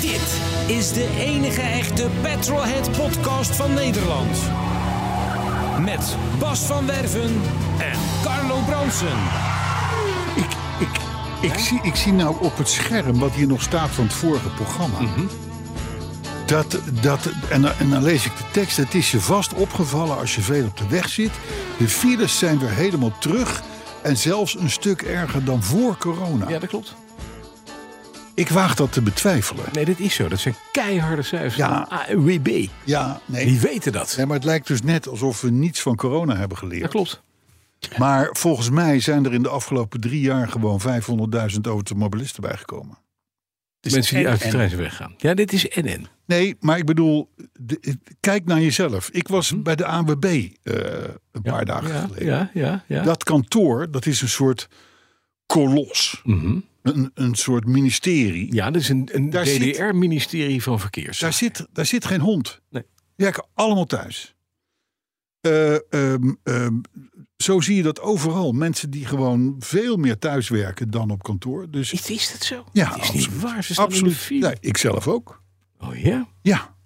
Dit is de enige echte Petrolhead podcast van Nederland. Met Bas van Werven en Carlo Bronsen. Ik, ik, ik, zie, ik zie nou op het scherm wat hier nog staat van het vorige programma. Dat, dat, en, dan- en dan lees ik de tekst. Het is je vast opgevallen als je veel op de weg zit. De files zijn weer helemaal terug. En zelfs een stuk erger dan voor corona. Ja, dat klopt. Ik waag dat te betwijfelen. Nee, dit is zo. Dat zijn keiharde cijfers. Ja. Ja. AWB. Ja, nee. Die weten dat. nee. Maar het lijkt dus net alsof we niets van corona hebben Dat geleerd. klopt. Maar volgens mij zijn er in de afgelopen drie jaar gewoon 500.000 automobilisten bijgekomen. Mensen die en- uit de en- trein zijn weggaan. Ja, dit is NN. Nee, maar ik bedoel, de- kijk naar jezelf. Ik was bij de ANWB eh, een paar dagen Mhm. ja, geleden. Ja, ja, ja. Dat kantoor, dat is een soort kolos. Mhm. Een, een soort ministerie. Ja, dat is een, een Daar zit- DDR-ministerie van Verkeers. Daar, zit, daar zit geen hond. Nee. Die werken allemaal thuis. Eh, ehm, ehm, zo zie je dat overal. Mensen die gewoon veel meer thuis werken dan op kantoor. Dus Is, is dat zo? Ja, Het is niet absoluut. waar. Ze staan in de absoluut. file. Nee, ik zelf ook. Oh ja? Ja.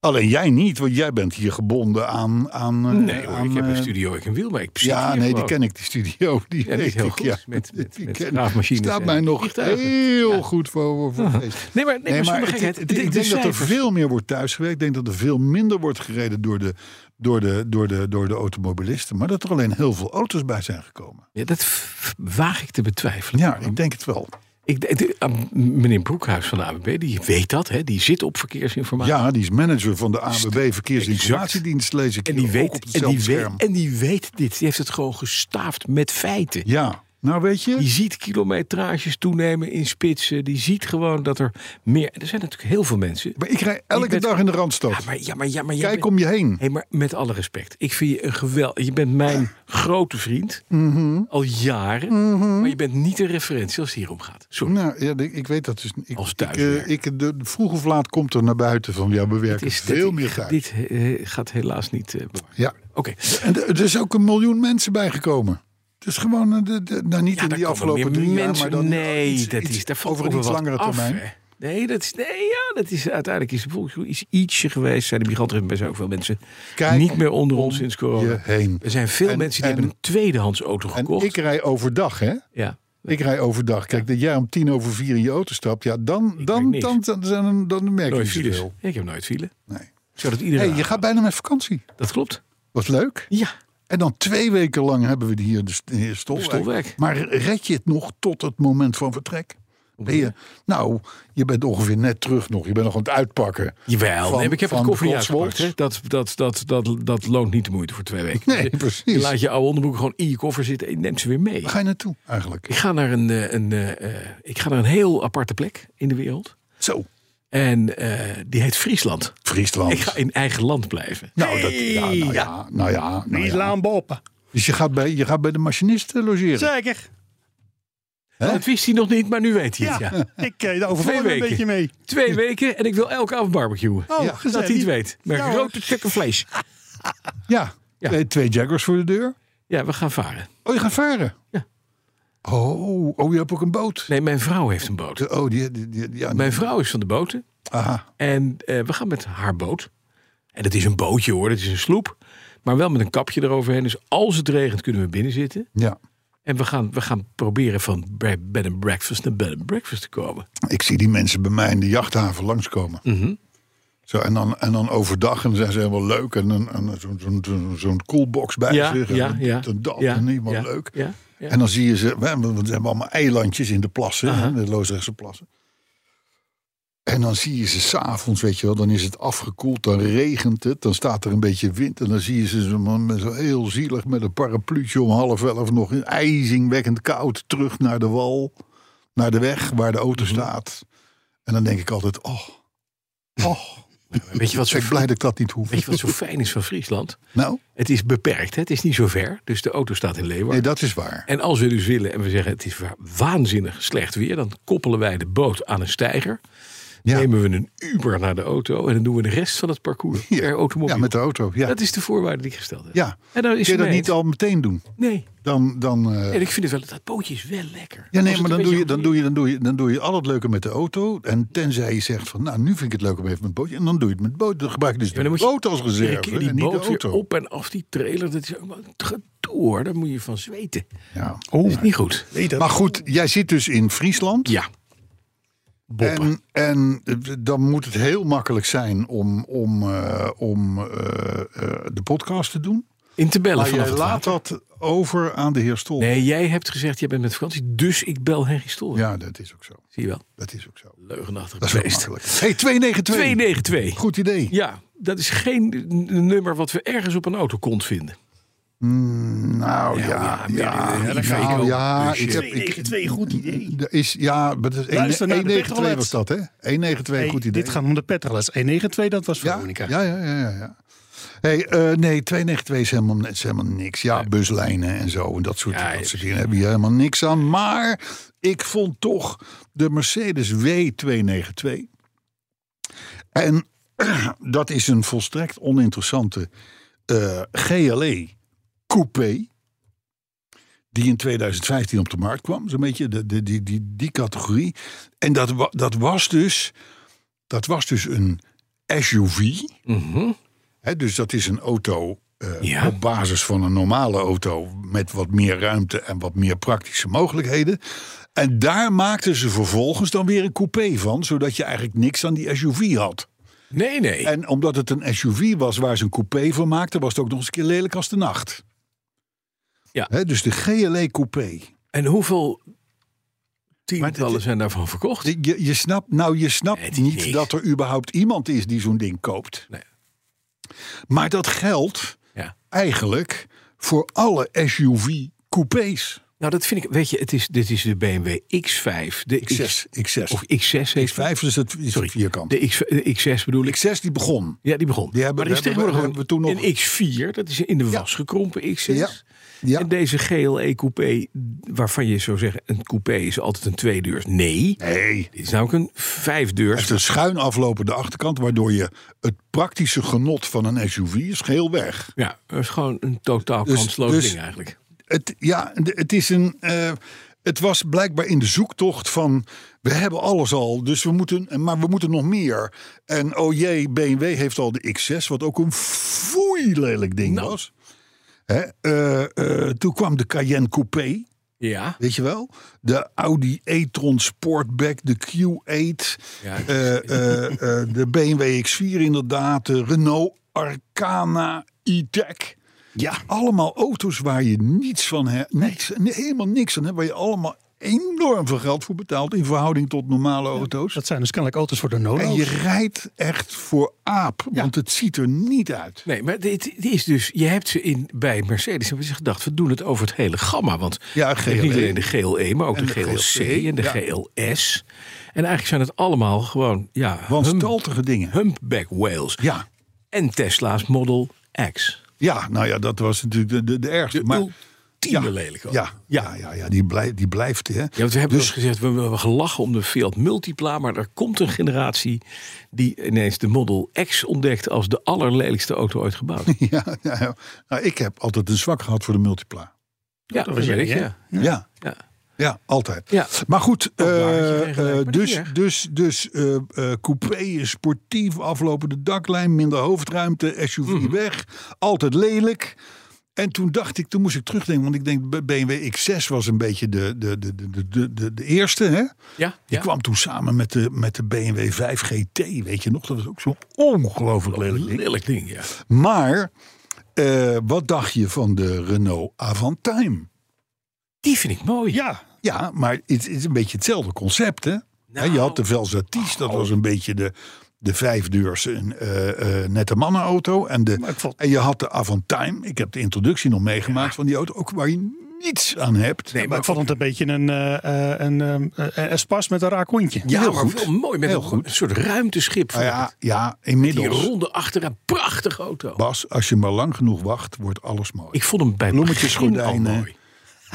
Alleen jij niet, want jij bent hier gebonden aan. aan eh, Nee hoor, aan, ik heb een eh, studio, ik een wiel, maar ik zit Ja, hier nee, die gewoon. ken ik, die studio. Die Ja, die weet is heel ik, goed. ja. Met, met, Die met ken- graafmachines Staat en mij nog vliegtuigen. heel Ja. goed voor, voor Ah. feest. Nee, maar, nee, maar, zonder het- gekheid. het- de- ik de denk dat er cijfers. veel meer wordt thuisgewerkt. Ik denk dat er veel minder wordt gereden door de, door, de, door, de, door de automobilisten. Maar dat er alleen heel veel auto's bij zijn gekomen. Ja, dat f- waag ik te betwijfelen. Ja, ik denk het wel. Ik, de- de- ah, m- meneer Broekhuis van de AWB, die weet dat, hè? die zit op verkeersinformatie. Ja, die is manager van de ANWB Verkeersinformatiedienst, lees ik en, die hier ook weet, op en, hetzelfde die weet, scherm. en die weet dit. Die heeft het gewoon gestaafd met feiten. Ja, nou weet je. Die ziet kilometrages toenemen in spitsen. Die ziet gewoon dat er meer. Er zijn natuurlijk heel veel mensen. Maar ik rij elke bent- dag in de Randstad. Ja, maar, ja, maar, ja, maar jij Kijk bent- om je heen. Hé, maar met alle respect. Ik vind je een geweld. Je bent mijn grote vriend. Mhm. Al jaren. Maar je bent niet een referentie als het hier om gaat. Sorry. Nou, ja, de- ik weet dat dus. Ik, Als ik, eh, thuiswerker. ik, de, vroeg of laat komt er naar buiten van ja, we werken Is veel dit, meer thuis. Dit eh, gaat helaas niet eh bewaard. Ja. Oké. En er er is ook een miljoen mensen bijgekomen. Dus gewoon, eh, de, de, nou niet Ja, in daar die komen afgelopen meer drie jaar, mensen- maar dan nee, iets- dat iets is, daar valt over een wel iets wat langere af, termijn. hè. Nee, dat is, nee, ja, dat is, uiteindelijk is de volksgroei is ietsje geweest. Zijn de migranten er zijn ook veel mensen Kijk niet meer onder om ons sinds corona. je heen. Er zijn veel En- mensen die en- hebben een tweedehands auto En gekocht. ik rij overdag, hè? ja. Ik rij overdag. Kijk, dat jij om tien over vier in je auto stapt, ja, dan, dan, merk dan, niks. dan, dan, dan merk je Nooit niet files. zoveel. Ik heb nooit file. Nee. Zodat Hey, iedereen. je gaat bijna met vakantie. Dat klopt. Wat leuk. Ja. En dan twee weken lang hebben we hier de, st- de stolwijk. De stolwijk. Maar red je het nog tot het moment van vertrek? Ben je, nou, je bent ongeveer net terug nog. Je bent nog aan het uitpakken. Jawel, Van- nee, maar ik heb van het koffer niet de Cotswolds. uitgepakt. Hè. Dat, dat, dat, dat, dat loont niet de moeite voor twee weken. Nee, Je- precies. Je laat je oude onderbroek gewoon in je koffer zitten en je neemt ze weer mee. Waar ga je naartoe eigenlijk? Ik ga naar een, eh, een, eh, eh, ik ga naar een heel aparte plek in de wereld. Zo, En eh, die heet Friesland. Friesland. Ik ga in eigen land blijven. Nou, dat, ja, nou ja, nou ja. nou ja. Islam Boppen. Dus je gaat, bij, je gaat bij de machinist eh, logeren. Zeker. Hè? Dat wist hij nog niet, maar nu weet hij Ja, het. Ja. ik eh, daar overval Twee ik me een weken. beetje mee. Twee weken en ik wil elke avond barbecuen. Oh, Ja, dat gezellig. hij het weet. Met Ja, hoor. grote stukken vlees. Ja, Ja. Twee, twee Jaggers voor de deur. Ja, we gaan varen. Oh, je gaat varen? Ja. Oh, oh je hebt ook een boot. Nee, mijn vrouw heeft een boot. Oh, die, die, die- die- ja, Mijn vrouw is van de boten. aha. En eh, we gaan met haar boot. En dat is een bootje hoor, dat is een sloep. Maar wel met een kapje eroverheen. Dus als het regent kunnen we binnen zitten. Ja. En we gaan, we gaan proberen van bre- bed and breakfast naar bed and breakfast te komen. Ik zie die mensen bij mij in de jachthaven langskomen. Zo, en, dan, en dan overdag, en dan zijn ze helemaal leuk. En, dan- en zo'n zo'n zo'n- zo'n koelbox bij zich. En dit en dat, en helemaal ja, leuk. Ja, ja. En dan zie je ze, we hebben, we hebben allemaal eilandjes in de plassen, hè, de Loosdrechtse plassen. En dan zie je ze s'avonds, weet je wel, dan is het afgekoeld, dan regent het, dan staat er een beetje wind. En dan zie je ze zo, man, met zo heel zielig met een parapluutje om half elf nog in ijzingwekkend koud terug naar de wal, naar de weg waar de Mhm. auto staat. En dan denk ik altijd, oh, oh, Weet je wat zo, ik blij dat ik dat niet hoef. weet je wat zo fijn is van Friesland? Nou, Het is beperkt, hè? het is niet zo ver. Dus de auto staat in Leeuwarden. nee, dat is waar. En als we dus willen en we zeggen het is wa- waanzinnig slecht weer, dan koppelen wij de boot aan een steiger. Ja. Nemen we een Uber naar de auto en dan doen we de rest van het parcours Hier. per automobiel. Ja, met de auto. Ja. Dat is de voorwaarde die ik gesteld heb. ja. En dan Kun is je het dat niet al meteen doen? Nee. Dan, dan, eh, En ik vind het wel, dat bootje is wel lekker. Ja, nee, Als het maar een dan doe, je, beetje dan, doe je, dan, doe je, dan doe je al het leuke met de auto. En tenzij je zegt van, nou, nu vind ik het leuk om even met bootje. En dan doe je het met boot. Dan gebruik je dus Ja, de dan moet je boot als iedere reserve keer die en niet de boot weer auto. op en af die trailer, dat is ook wel een gedoe hoor. Daar moet je van zweten. Ja. Oh. Dat is niet goed. Maar goed, jij zit dus in Friesland. Ja. Boppen. En, en eh, dan moet het heel makkelijk zijn om, om, eh, om eh, eh, de podcast te doen. In te bellen Maar vanaf jij het laat water. dat over aan de heer Stol. Nee, jij hebt gezegd, jij bent met vakantie, dus ik bel Henry Stol. Ja, dat is ook zo. Zie je wel. Dat is ook zo. Leugenachtig Dat is ook beest. makkelijk. hey, 292. 292. Goed idee. Ja, dat is geen n- nummer wat we ergens op een autocont vinden. Nou ja, ja, meer- ja, dat ga ik nou, ook. ja, Dus, ik eh, heb, ik, 292, goed idee. Er is, ja, maar dat is Luister naar de 192 Petrolheads. was dat, hè? 192, Hey, goed idee. Dit gaat om de petrolas. 192, dat was ja, Veronica. ja, ja, ja, ja. ja. Hey, eh, nee, 292 is helemaal, is helemaal niks. Ja, buslijnen en zo en dat soort, Ja, dat ja. soort dingen hebben hier helemaal niks aan. Maar ik vond toch de Mercedes W292. En dat is een volstrekt oninteressante eh, GLE coupé. Die in 2015 op de markt kwam. Zo'n beetje de, de, die, die, die categorie. En dat, wa- dat, was dus, dat was dus een SUV. Hè, dus dat is een auto eh, Ja. op basis van een normale auto. Met wat meer ruimte en wat meer praktische mogelijkheden. En daar maakten ze vervolgens dan weer een coupé van. Zodat je eigenlijk niks aan die SUV had. Nee, nee. En omdat het een SUV was waar ze een coupé van maakten, was het ook nog eens een keer lelijk als de nacht. Ja. Hè, dus de GLE coupé. En hoeveel Maar tientallen zijn daarvan verkocht? Je, je snapt, nou, je snapt Het is niet niks. dat er überhaupt iemand is die zo'n ding koopt. Nee. Maar dat geldt Ja. eigenlijk voor alle SUV coupés. Nou, dat vind ik, weet je, het is, dit is de BMW X5. De X6, X6. Of X6 heeft Vijf is het, is het vierkant. De, X, de X6 bedoel ik. X6 die begon. Ja, die begon. Die hebben- maar er is hebben we- tegenwoordig hebben we toen nog- een X4, dat is in de was gekrompen X6. Ja. Ja. En deze GLE coupé, waarvan je zou zeggen, een coupé is altijd een tweedeurs. Nee, Nee. dit is namelijk een vijfdeurs. heeft een schuin aflopende achterkant, waardoor je het praktische genot van een SUV is geheel weg. Ja, dat is gewoon een totaal Dus- kansloos dus- ding eigenlijk. Het, ja, de- het is een. eh, het was blijkbaar in de zoektocht van. We hebben alles al, dus we moeten, maar we moeten nog meer. En oh jee, BMW heeft al de X6, wat ook een foei lelijk ding Nou. was. Hè, eh, eh, toen kwam de Cayenne Coupé, Ja, weet je wel? De Audi e-tron Sportback, de Q8, Ja. eh, eh, eh, de BMW X4 inderdaad, de Renault Arcana e-tech. Ja. Allemaal auto's waar je niets van hebt. Niks, nee, helemaal niks aan hebt. Waar je allemaal enorm veel geld voor betaalt. In verhouding tot normale auto's. Dat zijn dus kennelijk auto's voor de En je Nolo's. rijdt echt voor aap. Want het ziet er niet uit. nee, maar dit, dit is dus, je hebt ze in, bij Mercedes, hebben ze gedacht, we doen het over het hele gamma. Want Ja, je hebt niet GLE. alleen de GLE, maar ook En de, de GLC en de ja. GLS. En eigenlijk zijn het allemaal gewoon, ja, hump, Wanstaltige dingen. humpback whales. Ja. En Tesla's Model X. ja, nou ja, dat was natuurlijk de, de, de ergste. De maar, ultieme lelijke. ja, ja, ja, ja, die, blij, die blijft. Hè. Ja, want we hebben dus gezegd, we hebben gelachen om de Fiat Multipla, maar er komt een generatie die ineens de Model X ontdekt als de allerlelijkste auto ooit gebouwd. Ja, ja, ja. Nou, ik heb altijd een zwak gehad voor de multipla. ja, dat was jij, ik, hè? ja. Ja, ja, ja. altijd. Ja. Maar goed, blaadje eh, kreeg gelijk, eh, maar dat is dus, niet erg. dus, dus eh eh, coupé, sportief, aflopende daklijn, minder hoofdruimte, SUV Mhm. weg, altijd lelijk. En toen dacht ik, toen moest ik terugdenken, want ik denk B- BMW X6 was een beetje de, de, de, de, de, de, de eerste. Hè? Ja, Die ja. kwam toen samen met de, met de BMW 5 GT, weet je nog? Dat was ook zo'n ongelooflijk lelijk ding. Lelijk ding, ja. Maar eh, wat dacht je van de Renault Avantime? Die vind ik mooi. Ja, Ja, maar het is een beetje hetzelfde concept, hè? Hè, je Nou, had de Velsatis, dat oh. was een beetje de, de vijfdeurs een, eh, eh, nette mannenauto. En, Maar de, ik vond- en je had de Avantime. Ik heb de introductie nog meegemaakt van die auto. Ook waar je niets aan hebt. Nee, Maar ik vond het een beetje een, eh, eh, een, eh, eh, een spas met een raar kontje. Ja, ja, heel maar goed. wel mooi. Met Heel een, goed. een soort ruimteschip. Nou vond ik ja, het. ja, Die inmiddels. ronde achter een prachtige auto. Bas, als je maar lang genoeg wacht, wordt alles mooi. Ik vond hem bij het Bloemetjes, begin al gordijnen. mooi.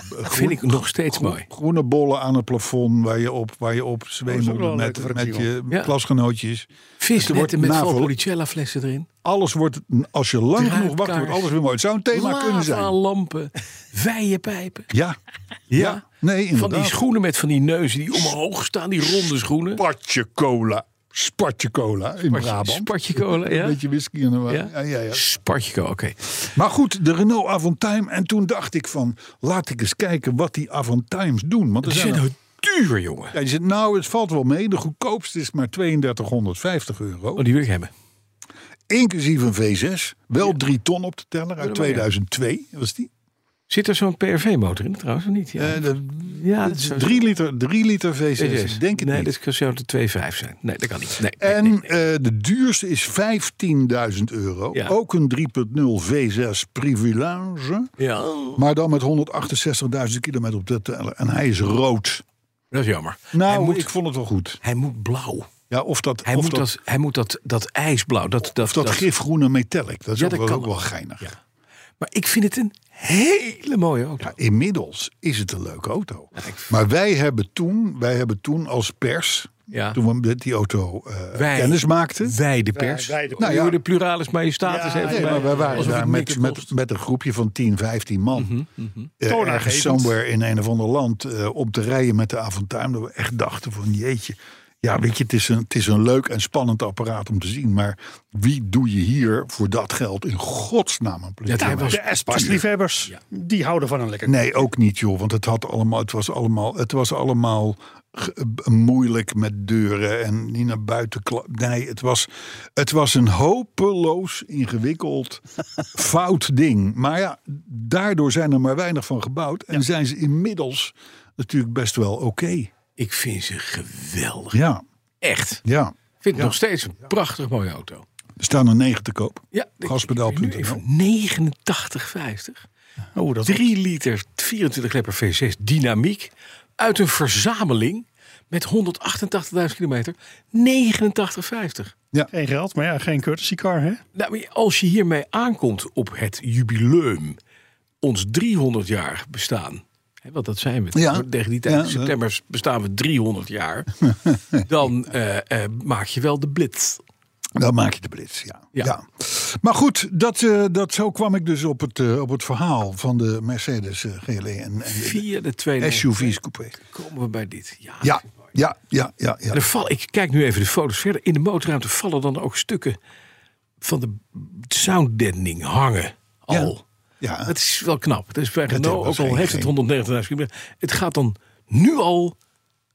Dat vind ik nog steeds mooi. Groene bollen aan het plafond waar je op, waar je op Dat is ook wel zweemelde een met, leuke met fractie, je Ja. klasgenootjes. Visnetten wordt met navel- Valpolicella flessen erin. Alles wordt, als je lang genoeg wacht, wordt Draadkaars. alles weer mooi. Het zou een thema kunnen Lava, zijn. lampen, vijenpijpen. Ja, ja. Nee, Van inderdaad. die schoenen met van die neuzen die omhoog staan, die ronde schoenen. Spatje cola. Spatje cola in Brabant. Spartje cola, Een ja. beetje whisky en wat. Ja? Ja? Ja, ja, Spartje cola, oké. Maar goed, de Renault Avantime. En toen dacht ik van, laat ik eens kijken wat die Avantimes doen. Want er Die zijn zijn er- nou duur, jongen. Ja, je zegt, nou, het valt wel mee. De goedkoopste is maar 3250 euro. Oh, die wil ik hebben. inclusief een V6. Wel drie ton op te tellen uit maar ja. 2002 was die. Zit er zo'n PRV-motor in trouwens, of niet? Ja, Eh, de- ja het is zou- drie liter, drie liter V6. Jezus. Ik denk het nee, niet. dit kan- zou de 2,5 zijn. Nee, dat kan niet. Nee, nee, En nee. eh, de duurste is 15.000 euro. Ja. Ook een 3.0 V6 Privilege. Ja, Maar dan met 168.000 kilometer op te tellen. En hij is rood. dat is jammer. hij Nou, moet, ik vond het wel goed. hij moet blauw. Ja, of dat, Hij of moet, dat, hij moet dat, dat ijsblauw. Dat, dat, of dat, gifgroene metallic. Dat is Ja, ook, dat wel- kan ook wel. wel geinig. Ja. Maar ik vind het een hele mooie auto. Ja, inmiddels is het een leuke auto. Maar wij hebben toen, wij hebben toen als pers, Ja. toen we met die auto eh, Wij. kennis maakten. Wij de pers. Wij- wij de- nou, Nou ja. de pluralis majestatis Ja, even Nee, bij. maar wij waren Alsof het Mhm, daar niks met, kost. met, met een groepje van 10, 15 man. Eh, Toonaangevend. ergens somewhere in een of ander land eh, op te rijden met de avontuin. Dat we echt dachten van jeetje. Ja, weet je, het is, een, het is een leuk en spannend apparaat om te zien. Maar wie doe je hier voor dat geld in godsnaam een plezier? Ja, hij was- De Espas-liefhebbers, die houden van een lekker Nee, ook niet, joh. Want het, had allemaal, het was allemaal, het was allemaal ge- b- moeilijk met deuren en niet naar buiten. kla- Nee, het was, het was een hopeloos ingewikkeld fout ding. Maar ja, daardoor zijn er maar weinig van gebouwd. En zijn ze inmiddels natuurlijk best wel oké. Ik vind ze geweldig. Ja, Echt. Ik ja. vind het nog steeds een prachtig mooie auto. Er staan er negen te koop. Ja, ik- Gaspedaal ik weet nu punt N L. even 89,50. Oh, dat 3 liter 24 lepper V6 dynamiek. Uit een verzameling met 188.000 kilometer. 89,50. geen geld, maar ja, geen courtesy car, hè? Nou, maar als je hiermee aankomt op het jubileum, ons 300 jaar bestaan. Hè, want dat zijn we. Ja. Tegen die tijd, Ja, in dat- september bestaan we 300 jaar. dan eh, eh, maak je wel de blitz. Dan maak je de blitz, ja. Ja. ja. Maar goed, dat, eh, dat, zo kwam ik dus op het, eh, op het verhaal van de Mercedes eh, GLE en, en Via de tweede de SUV's coupé. komen we bij dit. Ja. Ja, ja, ja, ja. ja. En er vallen- ik kijk nu even de foto's verder. In de motorruimte vallen dan ook stukken van de sounddending hangen. Al. ja. Het is wel knap. Het is bij Dat Renault, ook was al geen- heeft het geen- 190.000 kilometer. Het gaat dan nu al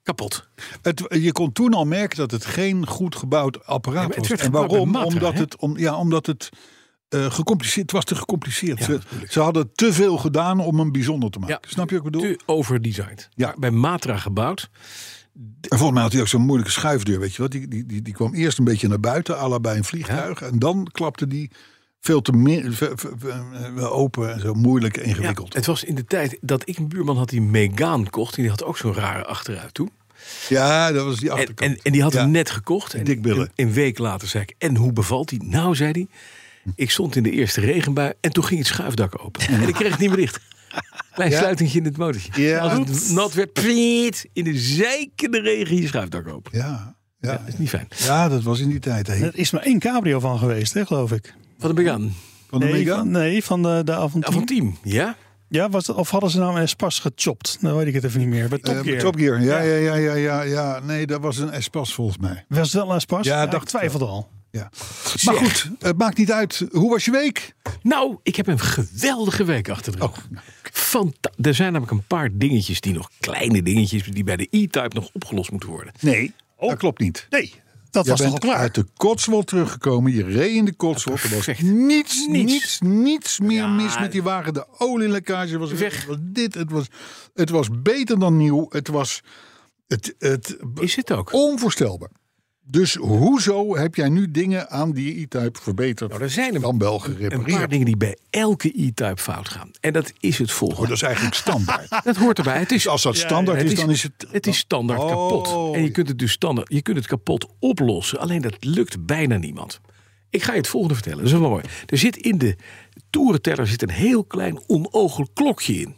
kapot. Het, je kon toen al merken dat het geen goed gebouwd Ja, apparaat maar het was. werd en gebouwd waarom? met Matra, omdat, hè? het, om, ja, omdat het eh, gecompliceerd het was te gecompliceerd. Ja, ze, natuurlijk. ze hadden te veel gedaan om hem bijzonder te maken. Ja. Snap je wat ik bedoel? Te overdesigned. Ja. Maar Bij Matra gebouwd. En volgens mij had hij ook zo'n moeilijke schuifdeur, weet je wel. Die, die, die, die kwam eerst een beetje naar buiten, à la bij een vliegtuig. En dan klapte die veel te min, ve- ve- ve- eh, open en zo moeilijk en Ja, ingewikkeld. Ja, het was in de tijd dat ik een buurman had die Megaan kocht. En die had ook zo'n rare achteruit toen. dat was die En, achterkant. en, en die had Ja. hem net gekocht. En Dik billen. Een, een week later zei ik, en hoe bevalt hij? Nou, zei hij, ik stond in de eerste regenbui en toen ging het schuifdak open. En ik kreeg het niet meer dicht. Klein Ja? sluitingje in het motortje. Ja. Als het nat werd, priet, in de zeikende regen je schuifdak open. Ja, Ja, ja, dat is niet fijn. ja, dat was in die tijd. hè. Er is maar één cabrio van geweest, hè, geloof ik. Van de Megaan. Van de nee, Mega? van, nee, van de, de Aventine. Ja, van team, ja? Ja, was dat, of hadden ze nou een Espas gechopt? Nou weet ik het even niet meer. Bij Top Eh, Gear. Top Gear, ja, ja, ja, ja, ja, ja. Nee, dat was een Espas volgens mij. Was het wel een Espas? Ja, ik dacht- twijfelde al. Ja. Maar goed, het maakt niet uit. Hoe was je week? Nou, ik heb een geweldige week achter de rug. Fanta- er zijn namelijk een paar dingetjes die nog kleine dingetjes die bij de E-Type nog opgelost moeten worden. Nee, dat klopt niet. Nee, dat Je was toch al bent klaar? uit de Cotswold teruggekomen. Je reed in de Cotswold. Er was perfect. niets, niets, Niets. niets, meer mis met die wagen. De olielekkage was weg. Het was dit. Het was, het was beter dan nieuw. Het was Het, het, Is het Oh, ook? onvoorstelbaar. Dus hoezo heb jij nu dingen aan die E-Type verbeterd? Nou, er zijn een- dan wel Een gerepareerd. paar dingen die bij elke E-Type fout gaan. En dat is het Oh, dat volgende. is eigenlijk standaard. Dat hoort erbij. Het is Dus als dat standaard Het is, dan is het. het is standaard Oh. kapot. En je kunt het dus standaard, je kunt het kapot oplossen. Alleen dat lukt bijna niemand. Ik ga je het volgende vertellen. Dat is wel mooi. Er zit in de toerenteller zit een heel klein onogelijk klokje in.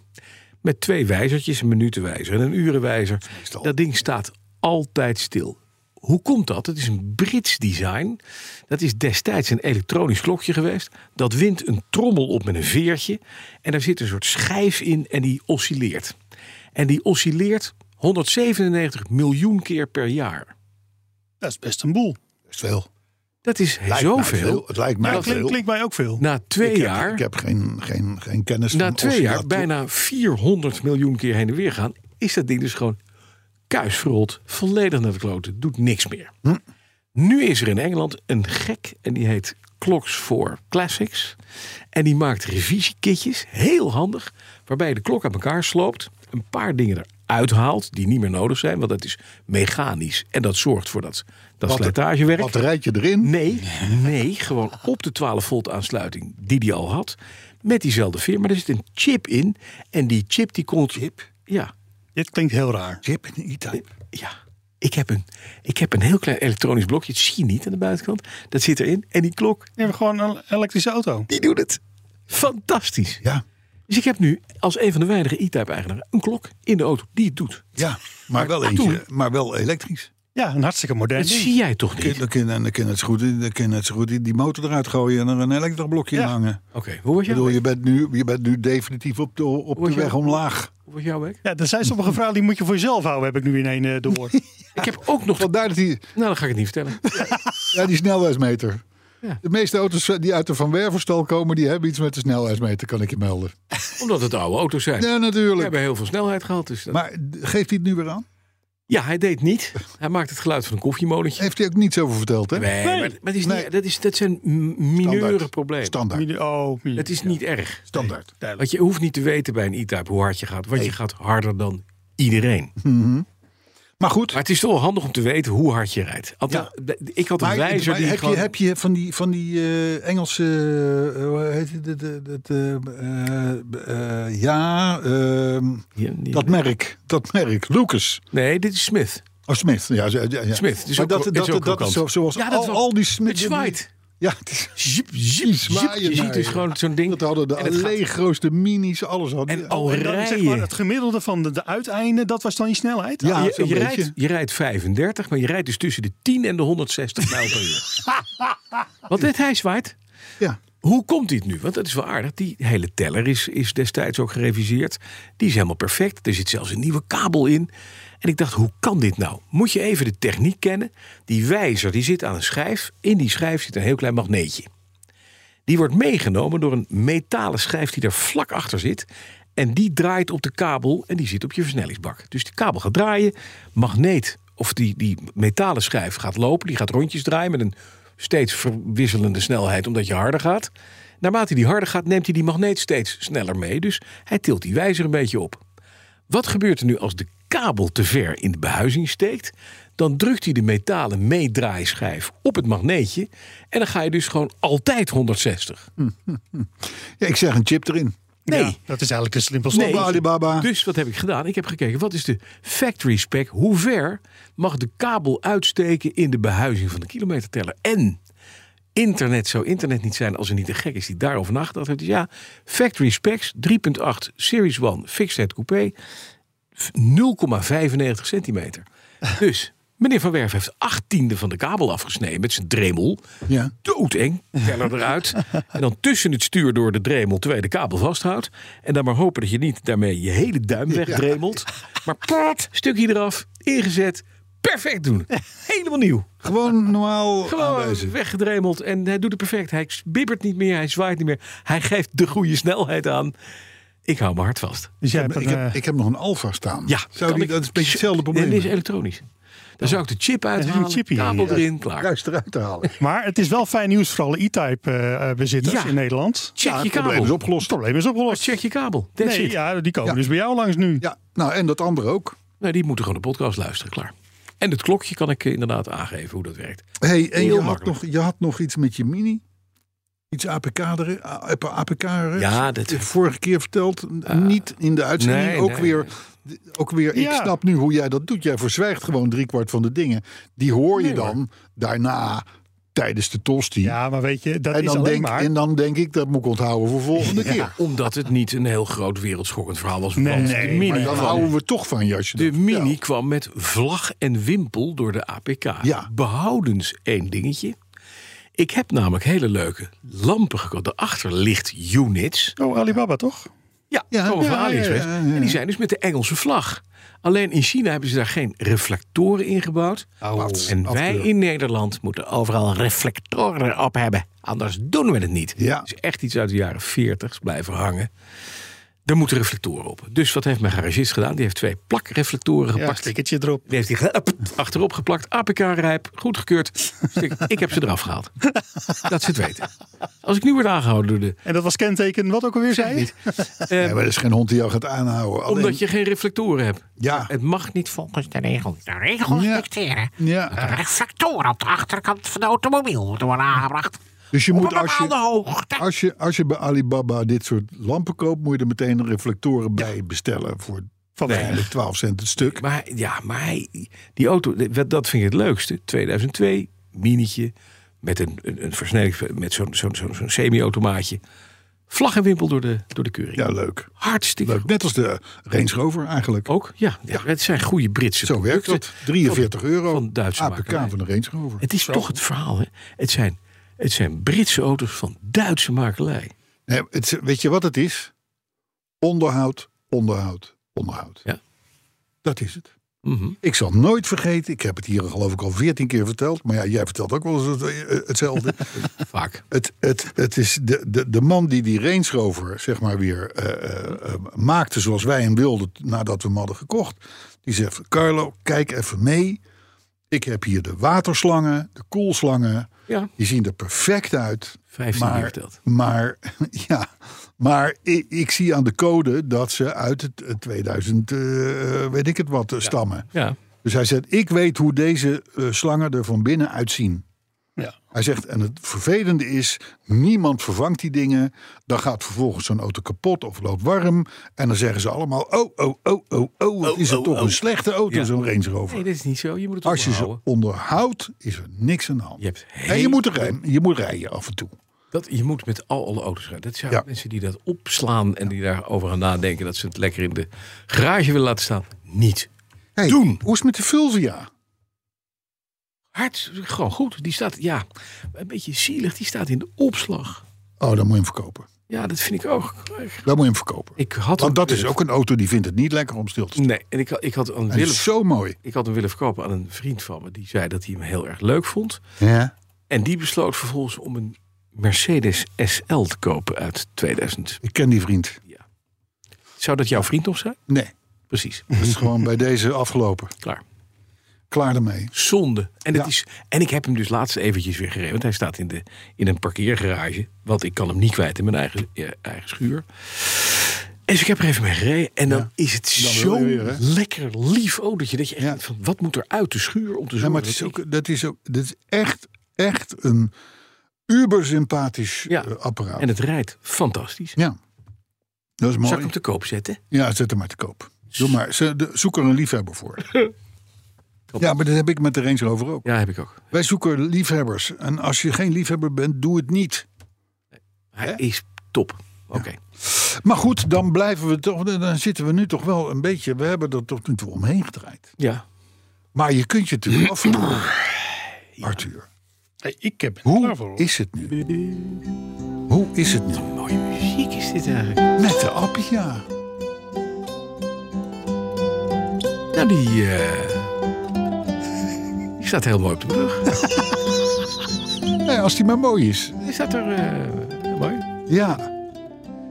Met twee wijzertjes, een minutenwijzer en een urenwijzer. Dat ding staat altijd stil. Hoe komt dat? Het is een Brits design. Dat is destijds een elektronisch klokje geweest. Dat wint een trommel op met een veertje. En daar zit een soort schijf in en die oscilleert. En die oscilleert 197 miljoen keer per jaar. Dat is best een boel. Best veel. Dat is Lijkt mij zoveel. veel. Het lijkt mij Ja, dat veel. Nou. klinkt, klinkt mij ook veel. Na twee ik, jaar, heb, ik heb geen, geen, geen kennis na van twee jaar oscillator- bijna 400 miljoen keer heen en weer gaan, is dat ding dus gewoon kuisverrot, volledig naar de kloten, doet niks meer. Hm. Nu is er in Engeland een gek en die heet Clocks for Classics. En die maakt revisiekitjes, heel handig, waarbij je de klok aan elkaar sloopt, een paar dingen eruit haalt die niet meer nodig zijn, want dat is mechanisch en dat zorgt voor dat, dat Batter- slijtagewerk. Batterijtje erin. Nee, nee, gewoon op de 12 volt aansluiting die hij al had. Met diezelfde veer, maar er zit een chip in. En die chip die kon... Chip? Ja, Dit klinkt heel raar. Chip en E-Type. ja. Ik heb, een, ik heb een heel klein elektronisch blokje, het zie je niet aan de buitenkant. Dat zit erin en die klok, We hebben gewoon een elektrische auto. die doet het. Fantastisch. Ja, Dus ik heb nu als een van de weinige E-Type eigenaren een klok in de auto die het doet. ja. Maar, wel eentje, maar wel elektrisch. Ja, een hartstikke modern Dat ding. zie jij toch Kun- niet? Dan kun, en dan kun je het zo goed, dan kun je het zo goed die die motor eruit gooien en er een elektrisch blokje in Ja. hangen. Oké, hoe was Ik bedoel, jouw je week? bent nu, je bent nu definitief op de, op Word de je- weg omlaag. Hoe was jouw week? Ja, er zijn sommige vragen die moet je voor jezelf houden, heb ik nu in één eh, door. Ik heb ook nog... Nou, Vandaar dat die, dan ga ik het niet vertellen. ja, die snelheidsmeter. Ja. De meeste auto's eh, die uit de Van Werverstal komen, die hebben iets met de snelheidsmeter, kan ik je melden. Omdat het oude auto's zijn. Ja, We natuurlijk. hebben heel veel snelheid gehad. Dus dat- Maar d- geeft hij het nu weer aan? Ja, hij deed niet. Hij maakt het geluid van een koffiemolentje. Heeft hij ook niets over verteld, hè? Nee, maar, maar het is Nee. niet, dat, is, dat zijn m- mineure Standaard. problemen. Standaard. Mini- Oh, mini- Het is niet erg. Standaard. Want je hoeft niet te weten bij een E-Type hoe hard je gaat. Want je gaat harder dan iedereen. Maar goed, Maar het is toch wel handig om te weten hoe hard je rijdt. Althans, Ik had een maar, wijzer maar die heb, gewoon... je, heb je van die, van die eh, Engelse... eh, hoe heet het? De- de- de- de, eh, eh, ja, ehm, Ja, die- dat merk. Dat merk. Lucas. Nee, dit is Smith. Of Smith. Ja, ja, ja. Smith, het is maar ook- dat, het is dat, dat ook krokant. is zo, zoals Ja, dat al, wel. al die Smith... Het zwaait. Ja, het is... Zip, zip, zip. zwaaien Je ziet naar dus je. gewoon zo'n ding. Dat hadden de en het gaat- Allegro's, de Minis, alles hadden. En al En dan zeg maar, rijden. het gemiddelde van de, de uiteinden, dat was dan je snelheid? Ah, ja, Je, zo'n je, beetje. rijdt, je rijdt 35, maar je rijdt dus tussen de 10 en de 160 mijl per uur. Want dit hij zwaait. Ja. Hoe komt dit nu? Want dat is wel aardig. Die hele teller is, is destijds ook gereviseerd. Die is helemaal perfect. Er zit zelfs een nieuwe kabel in. En ik dacht, hoe kan dit nou? Moet je even de techniek kennen. Die wijzer die zit aan een schijf. In die schijf zit een heel klein magneetje. Die wordt meegenomen door een metalen schijf die er vlak achter zit. En die draait op de kabel en die zit op je versnellingsbak. Dus die kabel gaat draaien, magneet of die, die metalen schijf gaat lopen. Die gaat rondjes draaien met een steeds verwisselende snelheid omdat je harder gaat. Naarmate die harder gaat neemt hij die magneet steeds sneller mee. Dus hij tilt die wijzer een beetje op. Wat gebeurt er nu als de kabel te ver in de behuizing steekt? Dan drukt hij de metalen meedraaischijf op het magneetje. En dan ga je dus gewoon altijd 160. Ja, ik zeg een chip erin. Nee. Ja, dat is eigenlijk de simpelste. Nee. Op Alibaba. Dus wat heb ik gedaan? Ik heb gekeken, wat is de factory spec? Hoe ver mag de kabel uitsteken in de behuizing van de kilometerteller? En internet zou internet niet zijn als er niet een gek is die daarover nagedacht heeft. Dus ja, factory specs 3.8 Series 1 fixed head coupé 0,95 centimeter. Dus meneer Van Werf heeft achttiende van de kabel afgesneden met zijn dremel. Ja. Doodeng, teller eruit. En dan tussen het stuur door de dremel terwijl je de kabel vasthoudt. En dan maar hopen dat je niet daarmee je hele duim wegdremelt. Maar plat, stukje eraf, ingezet. Perfect doen. Helemaal nieuw. Gewoon normaal Gewoon aanwijzen. weggedremeld. En hij doet het perfect. Hij bibbert niet meer, hij zwaait niet meer. Hij geeft de goede snelheid aan. Ik hou me hard vast. Dus jij Ik hebt heb, ik, een, heb, eh, ik heb nog een Alfa staan. Ja, Zou kan die, ik- dat is een beetje hetzelfde probleem. Nee, dit is elektronisch. Dan zou ik de chip uithalen, een chipje in, kabel ja. erin, klaar. Ruis eruit te halen. maar het is wel fijn nieuws voor alle E-type eh, eh, bezitters Ja. in Nederland. Check Ja, je het probleem is kabel. opgelost. Ah, Het probleem is opgelost. Check je kabel. That's Nee, it. ja, die komen Ja. dus bij jou langs nu. Ja, nou en dat andere ook. Nee, die moeten gewoon de podcast luisteren, klaar. En het klokje kan ik eh, inderdaad aangeven hoe dat werkt. Hey, en Heel je had, makkelijk. nog, je had nog iets met je mini? Iets apk apk Ja, dat- Vorige keer verteld, n- niet in de uitzending. nee, ook, nee, weer, ook weer, ik Ja. snap nu hoe jij dat doet. Jij verzwijgt gewoon driekwart van de dingen. Die hoor je dan daarna tijdens de tosti. Ja, maar weet je, dat en, is dan alleen denk, maar... en dan denk ik, dat moet ik onthouden voor volgende keer. Omdat het niet een heel groot wereldschokkend verhaal was. Nee, want nee, de mini, Maar dan kwam, houden we toch van je als je de dat- mini Ja. kwam met vlag en wimpel door de APK. Ja. Behoudens één dingetje. Ik heb namelijk hele leuke lampen gekocht. De achterlichtunits. Oh, Alibaba toch? Ja, Ja, komen van ja, ja, AliExpress. ja, ja. En die zijn dus met de Engelse vlag. Alleen in China hebben ze daar geen reflectoren in gebouwd. Oh, Wat? en wij Afkeur. in Nederland moeten overal reflectoren op hebben. Anders doen we het niet. Ja. Het is echt iets uit de jaren 40 blijven hangen. Er moeten reflectoren op. Dus wat heeft mijn garagist gedaan? Die heeft twee plakreflectoren Ja, gepakt. stickertje erop. die heeft hij ge- achterop geplakt. APK rijp, goedgekeurd. Stik- Ik heb ze eraf gehaald. Dat ze het weten. Als ik nu word aangehouden door de... En dat was kenteken, wat ook alweer zei je? eh, Ja, maar er is geen hond die jou gaat aanhouden. Alleen- Omdat je geen reflectoren hebt. Ja. Het mag niet volgens de regel. De regels Ja. dicteren Ja. dat de reflectoren op de achterkant van de automobiel moeten worden aangebracht. Dus je op moet een als bepaalde je, hoogte. als, je, als je bij Alibaba dit soort lampen koopt, moet je er meteen reflectoren bij bestellen voor Van waarschijnlijk 12 cent het stuk. Maar hij- ja, maar hij- die auto, dat vind ik het leukste. 2002, minietje, met een, een, een versnelling, met zo'n zo'n zo'n zo'n semi-automaatje. Vlag en wimpel door de, door de keuring. Ja, leuk. Hartstikke leuk. goed. Net als de Range Rover eigenlijk. Ook, ja, ja, Oh, Het zijn goede Britse Zo werkt dat. producten 43 van- euro. Van Duitse APK makerij. van de Range Rover. Het is toch het verhaal, hè. Het zijn, het zijn Britse auto's van Duitse makelij. Nee, het is- weet je wat het is? Onderhoud, onderhoud, onderhoud. Ja. Dat is het. Mhm. Ik zal nooit vergeten, ik heb het hier geloof ik al 14 keer verteld, maar ja, jij vertelt ook wel eens het- eh, hetzelfde. Vaak. Het, het, het is de, de, de man die die Range Rover zeg maar weer eh, eh, eh, maakte zoals wij hem wilden t- nadat we hem hadden gekocht. Die zegt, Carlo, kijk even mee. Ik heb hier de waterslangen, de koelslangen. Ja. Die zien er perfect uit. 15 keer maar, verteld. maar, ja, maar ik, ik zie aan de code dat ze uit het eh, 2000, eh, weet ik het wat, eh, stammen. Ja. Dus hij zegt, ik weet hoe deze eh, slangen er van binnen uitzien. Ja. Hij zegt, en het vervelende is, niemand vervangt die dingen. Dan gaat vervolgens zo'n auto kapot of loopt warm. En dan zeggen ze allemaal, oh, oh, oh, oh, oh, wat is het toch een slechte auto, Ja. zo'n Range Rover. Nee, dat is niet zo. Je moet het Als je ze onderhouden. onderhoudt, is er niks aan de hand. Je hebt En je heel- moet, rijden, je moet rijden af en toe. Dat, je moet met al alle auto's gaan. Dat zijn Ja. mensen die dat opslaan en die daarover gaan nadenken dat ze het lekker in de garage willen laten staan. Niet. Hey, Doen. Hoe is het met de Fulvia? Hard, gewoon goed. Die staat, ja, een beetje zielig. Die staat in de opslag. Oh, dan moet je hem verkopen. Ja, dat vind ik ook. Dan moet je hem verkopen. Ik had Want hem dat is willen- ook een auto die vindt het niet lekker om stil te staan. Nee, en ik, had- ik had een Hij willen. is zo mooi. Ik had hem willen verkopen aan een vriend van me. Die zei dat hij hem heel erg leuk vond. Ja. En die besloot vervolgens om een Mercedes SL te kopen uit 2000. Ik ken die vriend. Zou dat jouw vriend nog zijn? Nee, Precies. dat is gewoon bij deze afgelopen. Klaar. Klaar ermee. Zonde. En, het Ja. is, en ik heb hem dus laatst eventjes weer gereden. Want hij staat in, de, in een parkeergarage. Want ik kan hem niet kwijt in mijn eigen, eh, eigen schuur. En dus ik heb er even mee gereden. En dan is het Dan wil zo je weer, hè? lekker lief autootje. Dat je echt Ja. denkt van, wat moet er uit de schuur om te Ja, zorgen maar het is dat ik- ook, dat is ook, dat is echt, echt een ubersympathisch Ja. eh, apparaat. En het rijdt fantastisch. Ja, dat is Zal ik mooi. hem te koop zetten? Ja, zet hem maar te koop. Doe maar, ze- de- zoek er een liefhebber voor. Ja, maar dat heb ik met de Range Rover ook. Ja, heb ik ook. Wij zoeken liefhebbers. En als je geen liefhebber bent, doe het niet. Hij is top. Oké. Maar goed, dan blijven we toch. Dan zitten we nu toch wel een beetje. We hebben er tot nu toe omheen gedraaid. Ja. Maar je kunt je natuurlijk afvragen. Arthur, ik heb klaar voor. hoe is het nu? Hoe is het nu? Mooie muziek is dit eigenlijk. Met de Appia. Nou, die... eh, Die staat heel mooi op de brug. Nee, als die maar mooi is. Is dat er eh, mooi? Ja,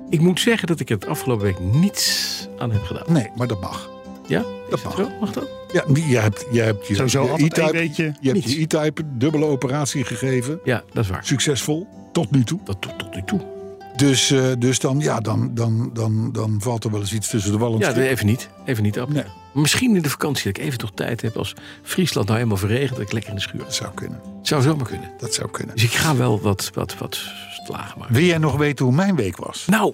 Ik moet zeggen dat ik het afgelopen week niets aan heb gedaan. nee, maar dat mag. Ja? Dat Is mag. zo? Mag dat? Ja, je hebt, je hebt je, Sowieso je altijd één E-type, weetje. je, hebt Niets. je E-type dubbele operatie gegeven. Ja, dat is waar. Succesvol, tot nu toe. Dat tot, tot nu toe. Dus, eh, dus dan, ja, dan, dan, dan, dan valt er wel eens iets tussen de wal en het Ja, schip. nee, even niet. Even niet, Ab. Nee. Misschien in de vakantie dat ik even toch tijd heb als Friesland nou helemaal verregent, dat ik lekker in de schuur. Dat zou kunnen. Het zou zomaar kunnen. Dat zou kunnen. Dus ik ga wel wat, wat, wat slagen maken. Wil jij nog weten hoe mijn week was? Nou,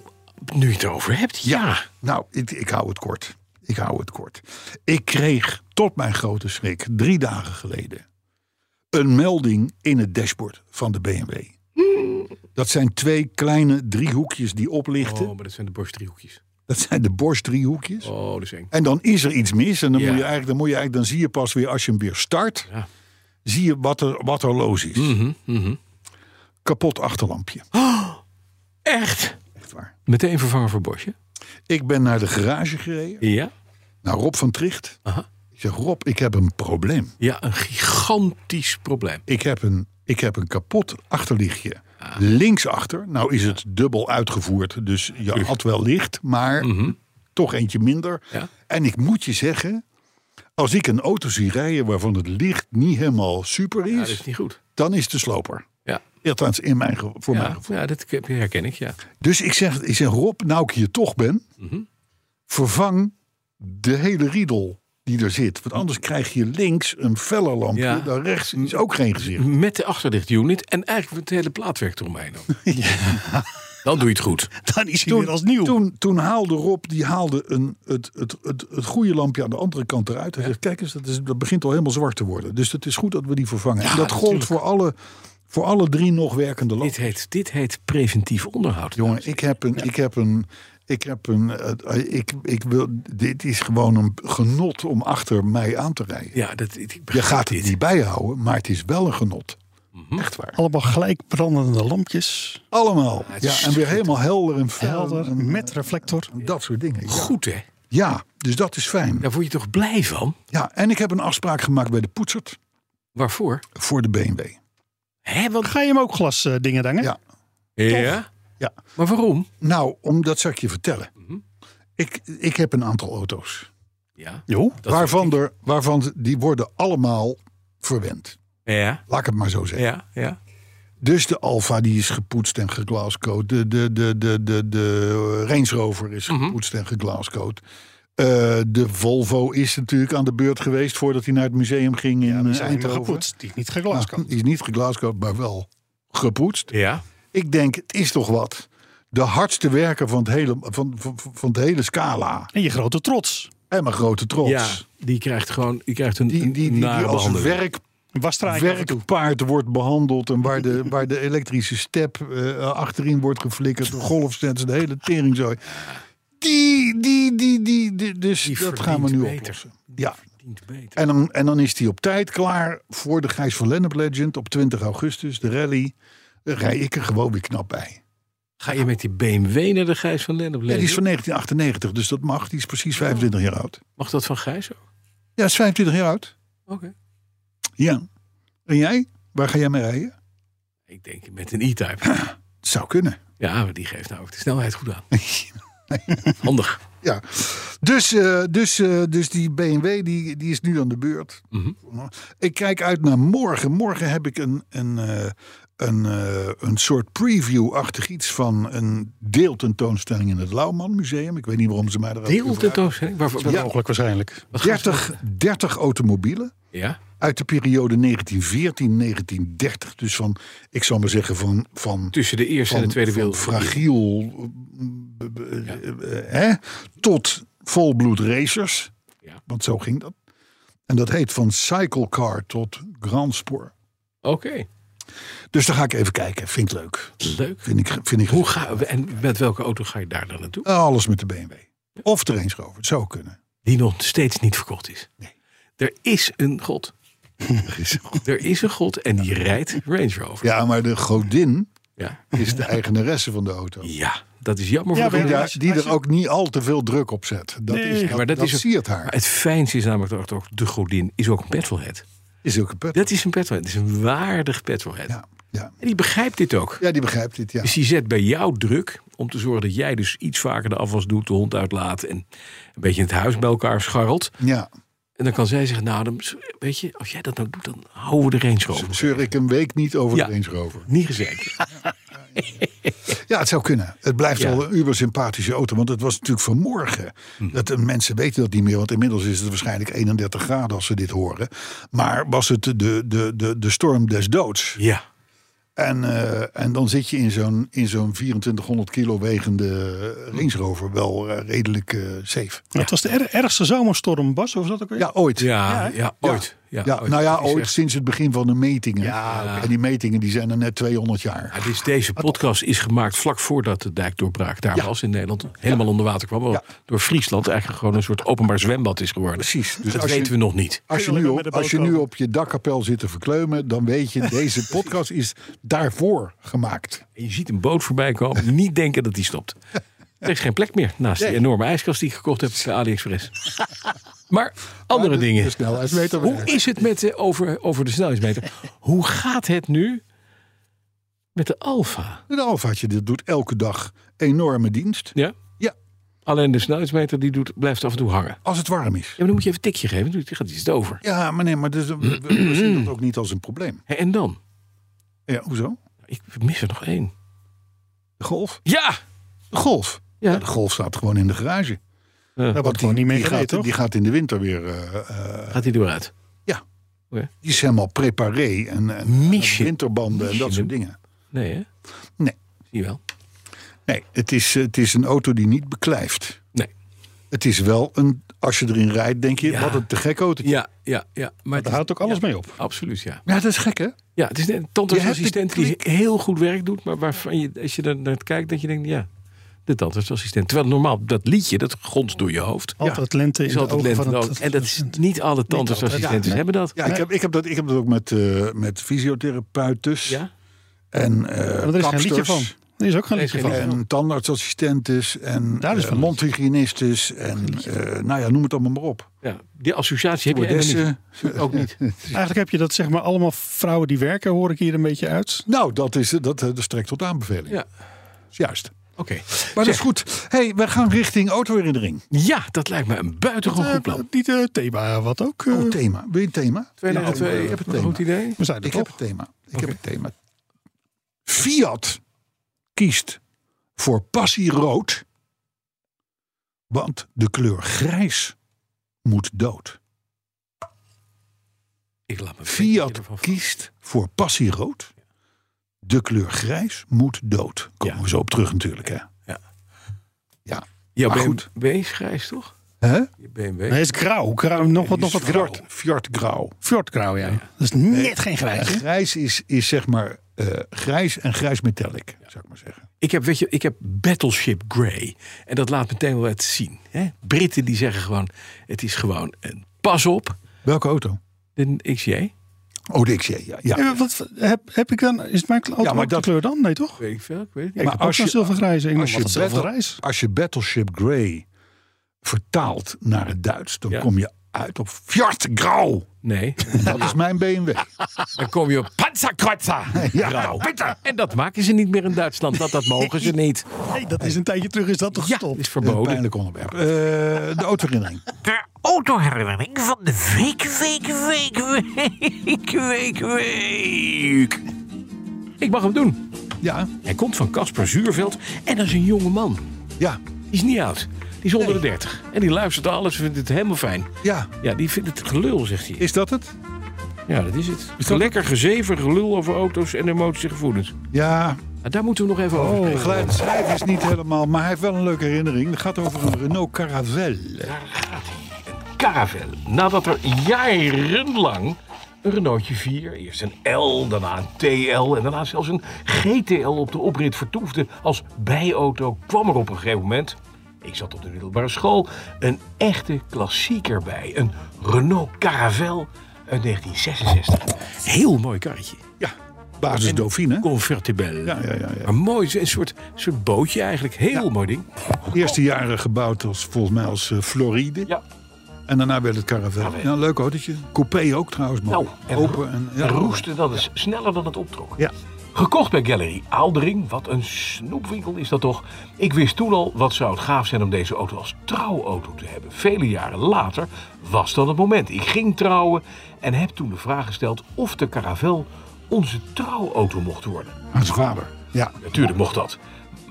nu je het erover hebt, ja. Nou, ik, ik hou het kort. Ik hou het kort. Ik kreeg tot mijn grote schrik drie dagen geleden een melding in het dashboard van de BMW. Dat zijn twee kleine driehoekjes die oplichten. Oh, maar dat zijn de borstdriehoekjes. Dat zijn de borstdriehoekjes. Oh, dat is eng. En dan is er iets mis. En dan, Ja. moet je eigenlijk, dan, moet je eigenlijk, dan zie je pas weer als je hem weer start. Ja. Zie je wat er, wat er los is. Mhm, mhm. Kapot achterlampje. Echt? Echt waar. Meteen vervangen voor Bosje? Ik ben naar de garage gereden. Ja. Naar Rob van Tricht. Aha. Ik zeg, Rob, ik heb een probleem. Ja, een gigantisch probleem. ik heb een, ik heb een kapot achterlichtje. Ah. Linksachter, nou is het dubbel uitgevoerd, dus je had wel licht, maar toch eentje minder. Mhm. Ja. En ik moet je zeggen, als ik een auto zie rijden waarvan het licht niet helemaal super is, Ja, dat is niet goed. dan is het de sloper. Dus- Ja, Althans, in mijn, ge- voor mij. ja, ja dat ke- herken ik, ja. Dus ik zeg, ik zeg, Rob, nou ik hier toch ben, Mhm. vervang de hele riedel die er zit. Want anders krijg je links een feller lampje, Ja. daar rechts is ook geen gezicht. Met de achterlichtunit en eigenlijk het hele plaatwerk eromheen. ook. Dan doe je het goed. Dan is hij weer als nieuw. Toen, toen haalde Rob die haalde een, het, het, het, het goede lampje aan de andere kant eruit. Hij zegt, kijk eens, dat, is, dat begint al helemaal zwart te worden. Dus het is goed dat we die vervangen. en dat gold voor alle, voor alle drie nog werkende Dit lampen. heet, dit heet preventief onderhoud. Jongen, ik heb een... Ik heb een ik heb een, eh, ik, ik wil, dit is gewoon een genot om achter mij aan te rijden. Ja, dat, ik begrijp Je gaat het dit. Mhm. niet bijhouden, maar het is wel een genot. Echt waar. Allemaal gelijk brandende lampjes. Allemaal. het Ja, is en weer helemaal helder en fel. Helder, en- met reflector. en dat soort dingen. Ja. Oh, Goed, hè? ja, dus dat is fijn. Daar word je toch blij van? Ja, en ik heb een afspraak gemaakt bij de poetsert Waarvoor? voor de BMW. Hè, want... Ga je hem ook glas eh, dingen dangen? Ja. Ja? Ja. Maar waarom? Nou, om, dat zou ik je vertellen. Ik, ik heb een aantal auto's. Ja. Jo. Waarvan, er, waarvan die worden allemaal verwend. Ja. Laat ik het maar zo zeggen. Ja, ja. Dus de Alfa die is gepoetst en geglascoat. De, de, de, de, de, de Range Rover is Mhm. gepoetst en geglascoat. Eh, de Volvo is natuurlijk aan de beurt geweest voordat hij naar het museum ging in Die eh, zijn helemaal Eindhoven. gepoetst. Die is niet Nou, geglazen. die is niet geglascoat, maar wel gepoetst. Ja. Ik denk, het is toch wat. De hardste werker van het hele, van, van, van het hele scala. En je grote trots. En mijn grote trots. Ja, die krijgt gewoon die krijgt een, Die, die, een die, die nare als een behandeling. werk, Waar straai je af en toe? werkpaard wordt behandeld. En waar de, waar de elektrische step eh, achterin wordt geflikkerd. De golfsets, de hele teringzooi. Die, die, die, die, die- Dus Die dat gaan we nu verdient beter. oplossen. Ja. Dient beter. En dan, en dan is die op tijd klaar voor de Gijs van Lennep Legend op 20 augustus, de rally. Daar rij ik er gewoon weer knap bij. Ga je met die BMW naar de Gijs van Lennep Ja, die is Lezing? van 1998, dus dat mag. Die is precies 25 jaar oud. Mag dat van Gijs ook? Ja, is 25 jaar oud. Oké. Ja. En jij? Waar ga jij mee rijden? Ik denk met een E-Type. Het zou kunnen. Ja, maar die geeft nou ook de snelheid goed aan. Handig. Ja. Dus, eh, dus, eh, dus die BMW die, die is nu aan de beurt. Mhm. Ik kijk uit naar morgen. Morgen heb ik een, een, eh, een, eh, een soort preview-achtig iets van een deeltentoonstelling in het Lauwman Museum. Ik weet niet waarom ze mij eruit Deel de toonstelling. Waarvoor? Ja. Mogelijk waarschijnlijk. wat gaat- 30, 30 automobielen. Ja. uit de periode 1914-1930. Dus van, ik zal maar zeggen, van, van, Tussen de Eerste en van, de Tweede van Wereldoorlog. fragiel mm, b- b- eh, hè, tot volbloed racers. Ja. Want zo ging dat. En dat heet van cyclecar tot grand spoor. Oké. Dus daar ga ik even kijken. Vind ik leuk. Leuk. Vind ik, vind ik Hoe ga, en met welke auto ga je daar dan naartoe? Alles met de BMW. Of de Range Rover. Het zou kunnen. Die nog steeds niet verkocht is. Er is een god. Er is een god en die rijdt Range Rover. Ja, maar de godin Ja. is de eigenaresse van de auto. Ja, dat is jammer voor Ja, de maar Die, god. daar- als je- die als er je- ook niet al te veel druk op zet. Dat, Nee. is, Ja, dat, Ja, maar dat, is ook, siert haar. maar Het fijnste is namelijk dat ook de godin is ook een petrolhead. Is ook een put. Dat is een petrolhead. Dat is een waardig petrolhead. Ja, ja. En die begrijpt dit ook. ja, die begrijpt dit. Ja. Dus die zet bij jou druk om te zorgen dat jij dus iets vaker de afwas doet, de hond uitlaat en een beetje het huis bij elkaar scharrelt. ja. En dan kan zij zeggen, nou, dan, weet je, als jij dat nou doet, dan houden we de range over. Zeur ik een week niet over Ja. de Range Rover. Niet gezegd. Ja, het zou kunnen. Het blijft Ja. wel een ubersympathische auto. Want het was natuurlijk vanmorgen. Hm. Dat, eh, mensen weten dat niet meer. Want inmiddels is het waarschijnlijk 31 graden als ze dit horen. Maar was het de, de, de, de storm des doods. Ja. En, eh, en dan zit je in zo'n, in zo'n 2400 kilo wegende Range Rover wel eh, redelijk eh, safe. Het was de er- ergste zomerstorm, Bas, of was dat ook weer? Ja, ooit. Ja, ja, Ja. ooit. Ja, Ja, nou ja, Het is ooit echt- sinds het begin van de metingen. En die metingen die zijn er net 200 jaar. Het is, dus deze podcast is gemaakt vlak voordat de dijkdoorbraak daar was in Nederland. Helemaal onder water kwam. wel Ja. Door Friesland eigenlijk gewoon een soort openbaar zwembad is geworden. Precies. Dus dat als je- weten we nog niet. Als je, Kunnen nu we op, met de boot als je nu komen? op je dakkapel zit te verkleumen, dan weet je, deze podcast is daarvoor gemaakt. En Je ziet een boot voorbij komen. Niet denken dat die stopt. Er is geen plek meer naast die enorme ijskast die ik gekocht heb bij AliExpress. Maar andere de- dingen. dus de snelheidsmeter Hoe werkt. is het met de, over, over de snelheidsmeter? Hoe gaat het nu met de Alfa? Een alfaatje, dit doet elke dag enorme dienst. Ja? Ja, Alleen de snelheidsmeter die doet, blijft af en toe hangen. als het warm is. Ja, maar dan moet je even een tikje geven. Dan gaat iets over. Ja, maar nee, maar dus, we, we zien dat ook niet als een probleem. Hé, En dan? Ja, hoezo? Ik mis er nog één. De golf? Ja! De golf. Ja. Ja. de golf staat gewoon in de garage. Ja. Want die, gewoon niet meer die, gereden, gaat, toch? die gaat in de winter weer... eh, eh, Gaat hij eruit? die is helemaal preparé en, en, en Mis je- winterbanden en mis dat je soort hem? dingen. Nee, hè? Nee. Zie je wel? Nee, het is, het is een auto die niet beklijft. Nee. Het is wel een... Als je erin rijdt, denk je, Ja. wat een te gek auto. Ja, ja, ja. Maar het Daar is- houdt ook alles mee op. Absoluut, ja. Ja, dat is gek, hè? Ja, het is net een tandartsassistent die heel goed werk doet, maar waarvan je, als je er naar kijkt, dat je denkt, ja, de tandartsassistent. Terwijl normaal, dat liedje, dat gonst door je hoofd. Altijd lente in Is de altijd ogen lente van in de ogen. het... En dat is niet alle tandartsassistenten Ja, hebben dat. Ja, ik heb, ik heb, dat, ik heb dat ook met, eh, met fysiotherapeuten Ja? en eh Maar er is geen kapsters liedje van. Er is ook geen Nee, is liedje geen van. liedje. En tandartsassistentes en Daar is eh, van. mondhygiënistes en eh, nou ja, noem het allemaal maar op. ja. Die associatie heb je helemaal Stewardessen. niet. Ook niet. Eigenlijk heb je dat zeg maar allemaal vrouwen die werken, hoor ik hier een beetje uit. Nou, dat, is, dat, eh, dat strekt tot aanbeveling. Ja, Juist. oké. Maar dat is goed. hey, we gaan richting autoherinnering. Ja, dat lijkt me een buitengewoon goed plan. Eh, Niet thema, wat ook. eh, Oh, thema. Wil je een thema? Mm. Twee Ja, naar twee. Ik heb een Een thema. goed idee. we zijn er Ik heb toch? een thema. Ik heb een thema. Fiat kiest voor passie rood, want de kleur grijs moet dood. Ik laat me Fiat kiest voor passie rood. De kleur grijs moet dood. Komen Ja. we zo op terug natuurlijk. Hè? Ja. ja. Ja, Maar BMW goed. is grijs, toch? Hè? Je BMW. Nee, het is grauw. grauw nog wat, nog wat grauw. Fjord, fjordgrauw. Fjordgrauw, ja. Dat is net geen grijs. hè? Grijs is, is zeg maar eh, grijs en grijs metallic, zou ik maar zeggen. Ik heb, weet je, ik heb Battleship Grey. En dat laat meteen wel het zien. Hè? Britten die zeggen gewoon, het is gewoon een pas op. Welke auto? De XJ, Oh, de XJ, ja. ja. Eh, Wat, heb, heb ik dan, is het mijn auto Ja, maar ook de dat- kleur dan? Nee, toch? weet ik veel, ik weet het niet. Ik maar Maar heb ook als zo'n je- zilvergrijze. Ik als als je wat battle- zilvergrijs. Als je Battleship Grey vertaalt naar het Duits, dan Ja. kom je uit op fjordgrauw. Nee, Dat is mijn BMW. dan kom je op Panzerkreuzer. Ja. Grauw. En dat maken ze niet meer in Duitsland, want dat mogen ze niet. Nee, dat is een tijdje terug is dat toch Ja, gestopt? is Een verboden. pijnlijk onderwerp. Eh, de autoherinnering. De autoherinnering van de week, week, week, week, week, week. Ik mag hem doen. Ja, Hij komt van Casper Zuurveld en dat is een jonge man. ja, Die is niet oud. Die is onder de 30. En die luistert naar alles, vindt het helemaal fijn. ja. Ja, die vindt het gelul, zegt hij. Is dat het? Ja, dat is het. Lekker gezever, gelul over auto's en emoties en gevoelens. Ja, Nou, daar moeten we nog even over de spreken. geluid schrijven Oh. is niet helemaal, maar hij heeft wel een leuke herinnering. Het gaat over een Renault Caravelle. Caravel. Nadat er jarenlang een Renaultje 4, eerst een L, daarna een TL en daarna zelfs een GTL op de oprit vertoefde als bijauto, kwam er op een gegeven moment, ik zat op de middelbare school, een echte klassieker bij. Een Renault Caravel uit 1966. Heel mooi karretje. Ja, basis Dauphine. Convertibel. Ja, ja, ja, ja. Maar mooi, een soort, soort bootje eigenlijk. Heel mooi ding. Eerste jaren gebouwd als, volgens mij als eh, Floride. Ja. En daarna werd het Caravelle. Ja, een leuk autootje. Coupé ook trouwens, maar Nou, en, open en, ja, en roesten, dat is sneller dan het optrok. Ja. Gekocht bij Gallery Aaldering, wat een snoepwinkel is dat toch? Ik wist toen al, wat zou het gaaf zijn om deze auto als trouwauto te hebben. Vele jaren later was dat het moment. Ik ging trouwen en heb toen de vraag gesteld of de Caravelle onze trouwauto mocht worden. Aan zijn vader. Ja. Natuurlijk mocht dat.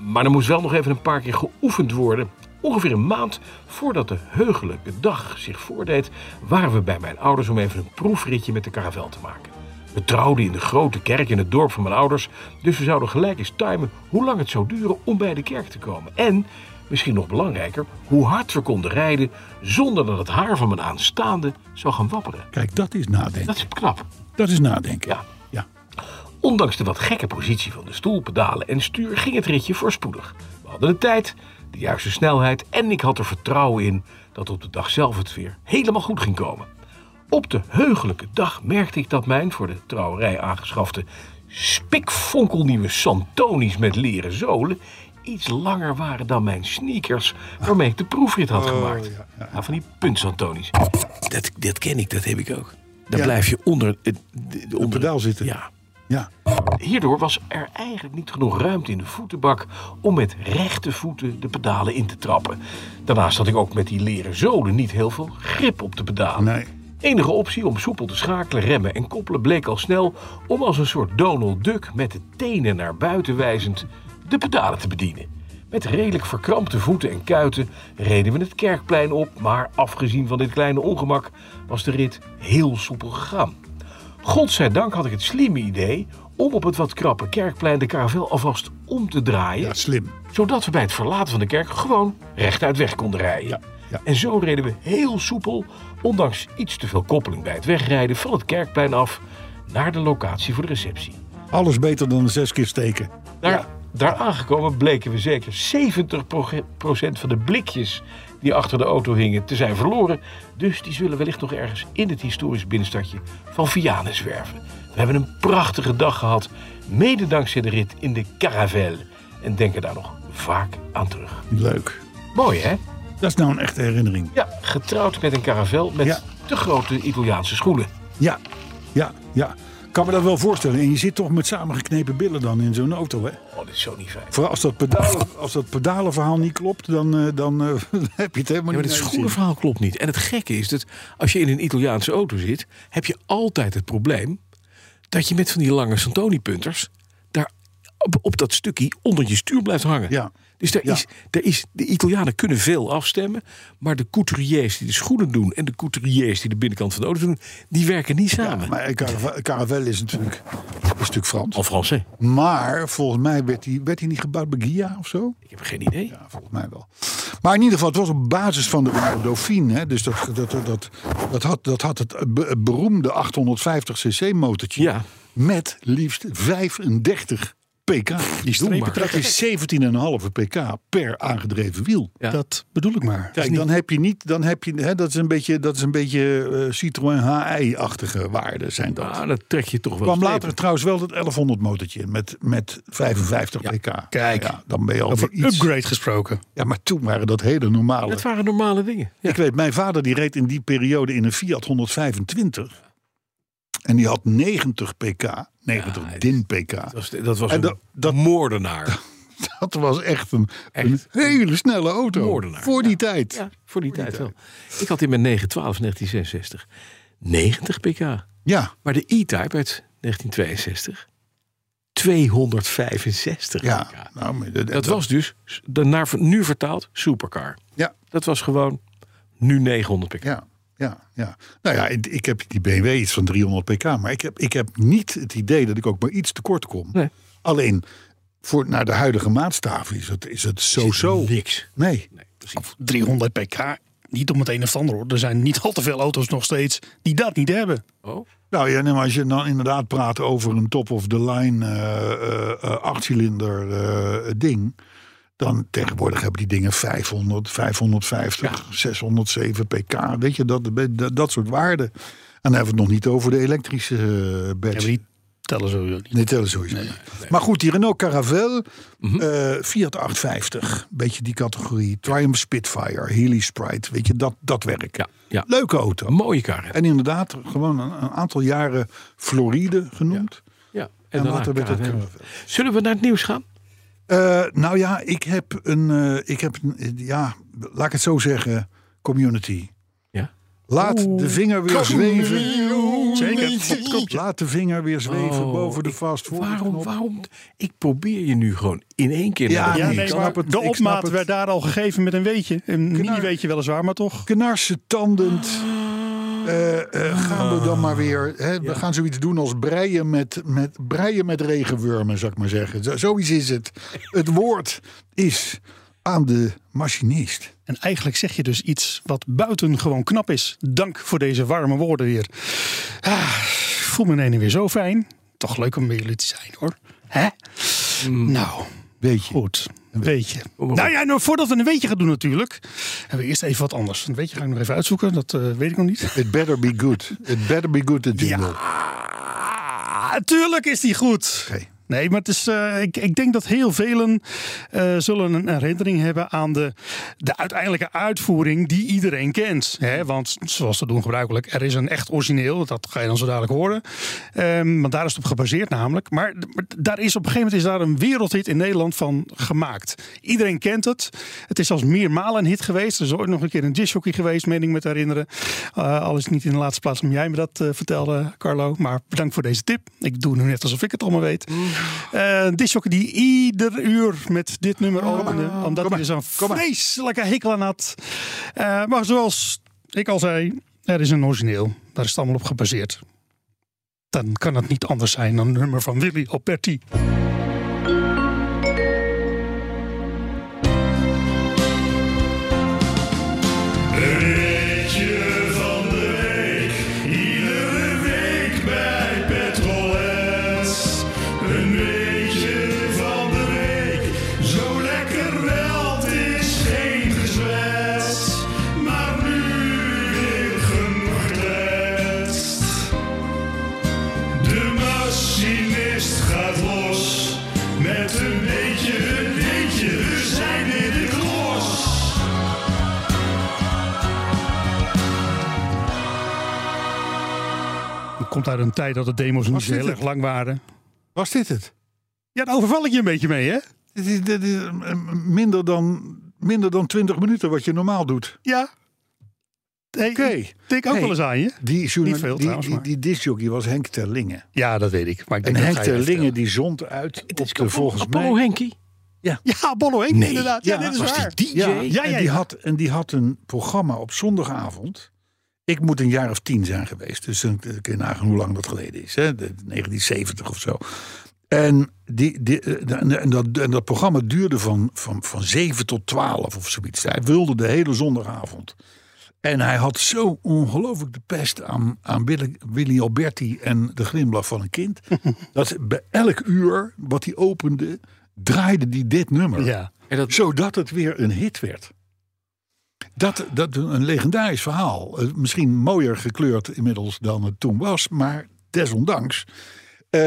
Maar er moest wel nog even een paar keer geoefend worden. Ongeveer een maand voordat de heugelijke dag zich voordeed, waren we bij mijn ouders om even een proefritje met de karavel te maken. We trouwden in de grote kerk in het dorp van mijn ouders, dus we zouden gelijk eens timen hoe lang het zou duren om bij de kerk te komen. En, misschien nog belangrijker, hoe hard we konden rijden zonder dat het haar van mijn aanstaande zou gaan wapperen. Kijk, dat is nadenken. Dat is knap. Dat is nadenken. Ja. ja. Ondanks de wat gekke positie van de stoel, pedalen en stuur ging het ritje voorspoedig. We hadden de tijd, de juiste snelheid en ik had er vertrouwen in dat op de dag zelf het weer helemaal goed ging komen. Op de heugelijke dag merkte ik dat mijn voor de trouwerij aangeschafte spikfonkelnieuwe Santonis met leren zolen iets langer waren dan mijn sneakers waarmee ik de proefrit had gemaakt. Ja, van die punt Santonis. Dat, dat ken ik, dat heb ik ook. Dan Ja. blijf je onder het de- de- onder pedaal zitten. Ja. Ja. Hierdoor was er eigenlijk niet genoeg ruimte in de voetenbak om met rechte voeten de pedalen in te trappen. Daarnaast had ik ook met die leren zolen niet heel veel grip op de pedalen. Nee. Enige optie om soepel te schakelen, remmen en koppelen bleek al snel om als een soort Donald Duck met de tenen naar buiten wijzend de pedalen te bedienen. Met redelijk verkrampte voeten en kuiten reden we het kerkplein op, maar afgezien van dit kleine ongemak was de rit heel soepel gegaan. Godzijdank had ik het slimme idee om op het wat krappe kerkplein de karavel alvast om te draaien. Ja, slim. Zodat we bij het verlaten van de kerk gewoon rechtuit weg konden rijden. Ja, ja. En zo reden we heel soepel, ondanks iets te veel koppeling bij het wegrijden, van het kerkplein af naar de locatie voor de receptie. Alles beter dan zes keer steken. Daar, daar aangekomen bleken we zeker 70% van de blikjes die achter de auto hingen te zijn verloren. Dus die zullen wellicht nog ergens in het historisch binnenstadje van Vianen zwerven. We hebben een prachtige dag gehad, mede dankzij de rit in de Caravelle. En denken daar nog vaak aan terug. Leuk. Mooi hè? Dat is nou een echte herinnering. Ja, getrouwd met een Caravelle met Ja. te grote Italiaanse schoenen. Ja, ja, ja. Kan me dat wel voorstellen. En je zit toch met samengeknepen billen dan in zo'n auto, hè? Oh, dit is zo niet fijn. Vooral als dat, pedalen, als dat pedalenverhaal niet klopt, dan, eh, dan eh, heb je het helemaal Ja, maar niet het naar je schoenenverhaal klopt niet. En het gekke is dat als je in een Italiaanse auto zit, heb je altijd het probleem dat je met van die lange Santoni-punters daar op, op dat stukje onder je stuur blijft hangen. Ja. Dus daar Ja. is, daar is, de Italianen kunnen veel afstemmen, maar de couturiers die de schoenen doen en de couturiers die de binnenkant van de auto doen, die werken niet zin. samen. Ja, maar Caravelle- Caravelle is natuurlijk, is natuurlijk Frans. Al Français. Maar volgens mij werd hij werd die niet gebouwd bij Gia of zo. Ik heb geen idee. Ja, volgens mij wel. Maar in ieder geval, het was op basis van de Renault Dauphine. Hè? Dus dat, dat, dat, dat, dat, had, dat had het be- beroemde 850cc motortje. Ja. Met liefst 35 pk. Die strepen dat is 17,5 pk per aangedreven wiel. Ja. Dat bedoel ik maar. Kijk, dan heb je niet, dan heb je, hè, dat is een beetje, dat is een beetje eh, Citroën HI-achtige waarden zijn Ah, dat. Nou, dat trek je toch wel. kwam strepen. later trouwens wel dat 1100 motortje in met, met 55 pk. Kijk. Ja, dan ben je al Over iets. upgrade gesproken. Ja, maar toen waren dat hele normale. Dat waren normale dingen. Ja. Ik weet, mijn vader die reed in die periode in een Fiat 125. En die had 90 pk, 90 din pk. Dat was, dat was En een dat- dat- moordenaar. Dat was echt een, Echt. een hele snelle auto. Moordenaar. Voor die tijd. Ja, voor die tijd wel. Ik had in mijn 912 1966 90 pk. Ja, Maar de E-Type uit 1962 265 ja. pk. Nou, maar Dat was dus, de naar, nu vertaald, supercar. Ja. Dat was gewoon nu 900 pk. Ja, ja, ja. Nou ja, ik, ik heb die BMW iets van 300 pk, maar ik heb, ik heb niet het idee dat ik ook maar iets tekort kom. Nee. Alleen voor, naar de huidige maatstaven is het, is het zo-zo. Niks. Nee. 300 pk. Niet om het een of het ander hoor. Er zijn niet al te veel auto's nog steeds die dat niet hebben. Oh, Nou ja, nee, maar als je dan inderdaad praat over een top-of-the-line eh, eh, eh, achtcilinder eh, ding. Dan tegenwoordig hebben die dingen 500, 550, 607 pk. Weet je, dat, dat, dat soort waarden. En dan hebben we het nog niet over de elektrische eh, Ja, badge. maar die tellen sowieso niet. Nee, tellen sowieso niet. Maar goed, die Renault Caravelle, eh, Fiat 850, beetje die categorie. Triumph Spitfire, Healy Sprite, weet je, dat, dat werk. Ja, ja. Leuke auto. een mooie kar. hè? En inderdaad, gewoon een, een aantal jaren Floride genoemd. Ja. En, daarna later werd het KLM. Caravelle. Zullen we naar het nieuws gaan? Eh, nou ja, ik heb een, eh, ik heb een, eh, ja, laat ik het zo zeggen, community. Ja. Laat de vinger weer zweven. zeker. Laat de vinger weer zweven Oh, boven de ik- fast forward Waarom, knop. waarom? Ik probeer je nu gewoon in één keer. Ja, naar de Ja, Ik nee, snap maar het, de ik snap opmaat het. werd daar al gegeven met een weetje. Een mini-weetje weliswaar, maar toch. Knarsen, tandend. Ah. Eh, eh, gaan we dan maar weer. Hè, We gaan zoiets doen als breien met, met, breien met regenwormen, zou ik maar zeggen. Zo- zoiets is het. Het woord is aan de machinist. En eigenlijk zeg je dus iets wat buitengewoon knap is. Dank voor deze warme woorden weer. Ah, ik voel me ineens weer zo fijn. Toch leuk om bij jullie te zijn hoor. Hè? Nou, Weet je. goed. Een weetje. Nou ja, nou, voordat we een weetje gaan doen natuurlijk. Hebben we eerst even wat anders. Een weetje ga ik nog even uitzoeken. Dat eh, weet ik nog niet. It better be good. It better be good, de jingle. Ja, tuurlijk is die goed. Oké. Nee, maar het is, eh, ik, ik denk dat heel velen eh, zullen een herinnering hebben aan de, de uiteindelijke uitvoering die iedereen kent. Hè? Want zoals ze doen gebruikelijk, er is een echt origineel, dat ga je dan zo dadelijk horen. Ehm, want daar is het op gebaseerd namelijk. Maar, maar daar is op een gegeven moment is daar een wereldhit in Nederland van gemaakt. Iedereen kent het. Het is als meermalen een hit geweest. Er is ooit nog een keer een dishockey geweest, meen ik me te herinneren. Eh, al is het niet in de laatste plaats om jij me dat eh, vertelde, Carlo. Maar bedankt voor deze tip. Ik doe nu net alsof ik het allemaal weet. Eh dishockey die ieder uur met dit nummer opende. Omdat hij er zo'n vreselijke hekel aan had. Eh, maar zoals ik al zei, er is een origineel. Daar is het allemaal op gebaseerd. Dan kan het niet anders zijn dan een nummer van Willy Alberti. Het komt uit een tijd dat de demos niet Was zo dit heel erg het? lang waren. Was dit het? Ja, daar overval ik je een beetje mee, hè? Dit is, dit is eh, minder, dan, minder dan 20 minuten wat je normaal doet. Ja. Hey, Oké. Ik denk ook Hey. wel eens aan je. Die, journal- Niet veel die, trouwens, die, maar- die discjockey was Henk Terlingen. Ja, dat weet ik. Maar ik En denk dat Henk ga je even Terlingen die zond uit op de volgens mij... Apollo Henkie. vertellen. Ja, Bollo Henk, Nee. inderdaad. Ja, Ja, dit is was die waar. DJ. Ja, Ja, en, ja, Die ja. had, en die had een programma op zondagavond. Ik moet een jaar of tien zijn geweest. Dus dan kun je nagaan hoe lang dat geleden is. Hè? De- 1970 of zo. En, die, die, eh, en, en dat, en dat programma duurde van, van, van 7 tot 12 of zoiets. Hij wilde de hele zondagavond. En hij had zo ongelooflijk de pest aan, aan Willy, Willy Alberti en de glimlach van een kind. dat bij elk uur wat hij opende, draaide hij dit nummer Ja. En dat, zodat het weer een hit werd. Dat, dat een legendarisch verhaal. Eh, Misschien mooier gekleurd inmiddels dan het toen was, maar desondanks. eh,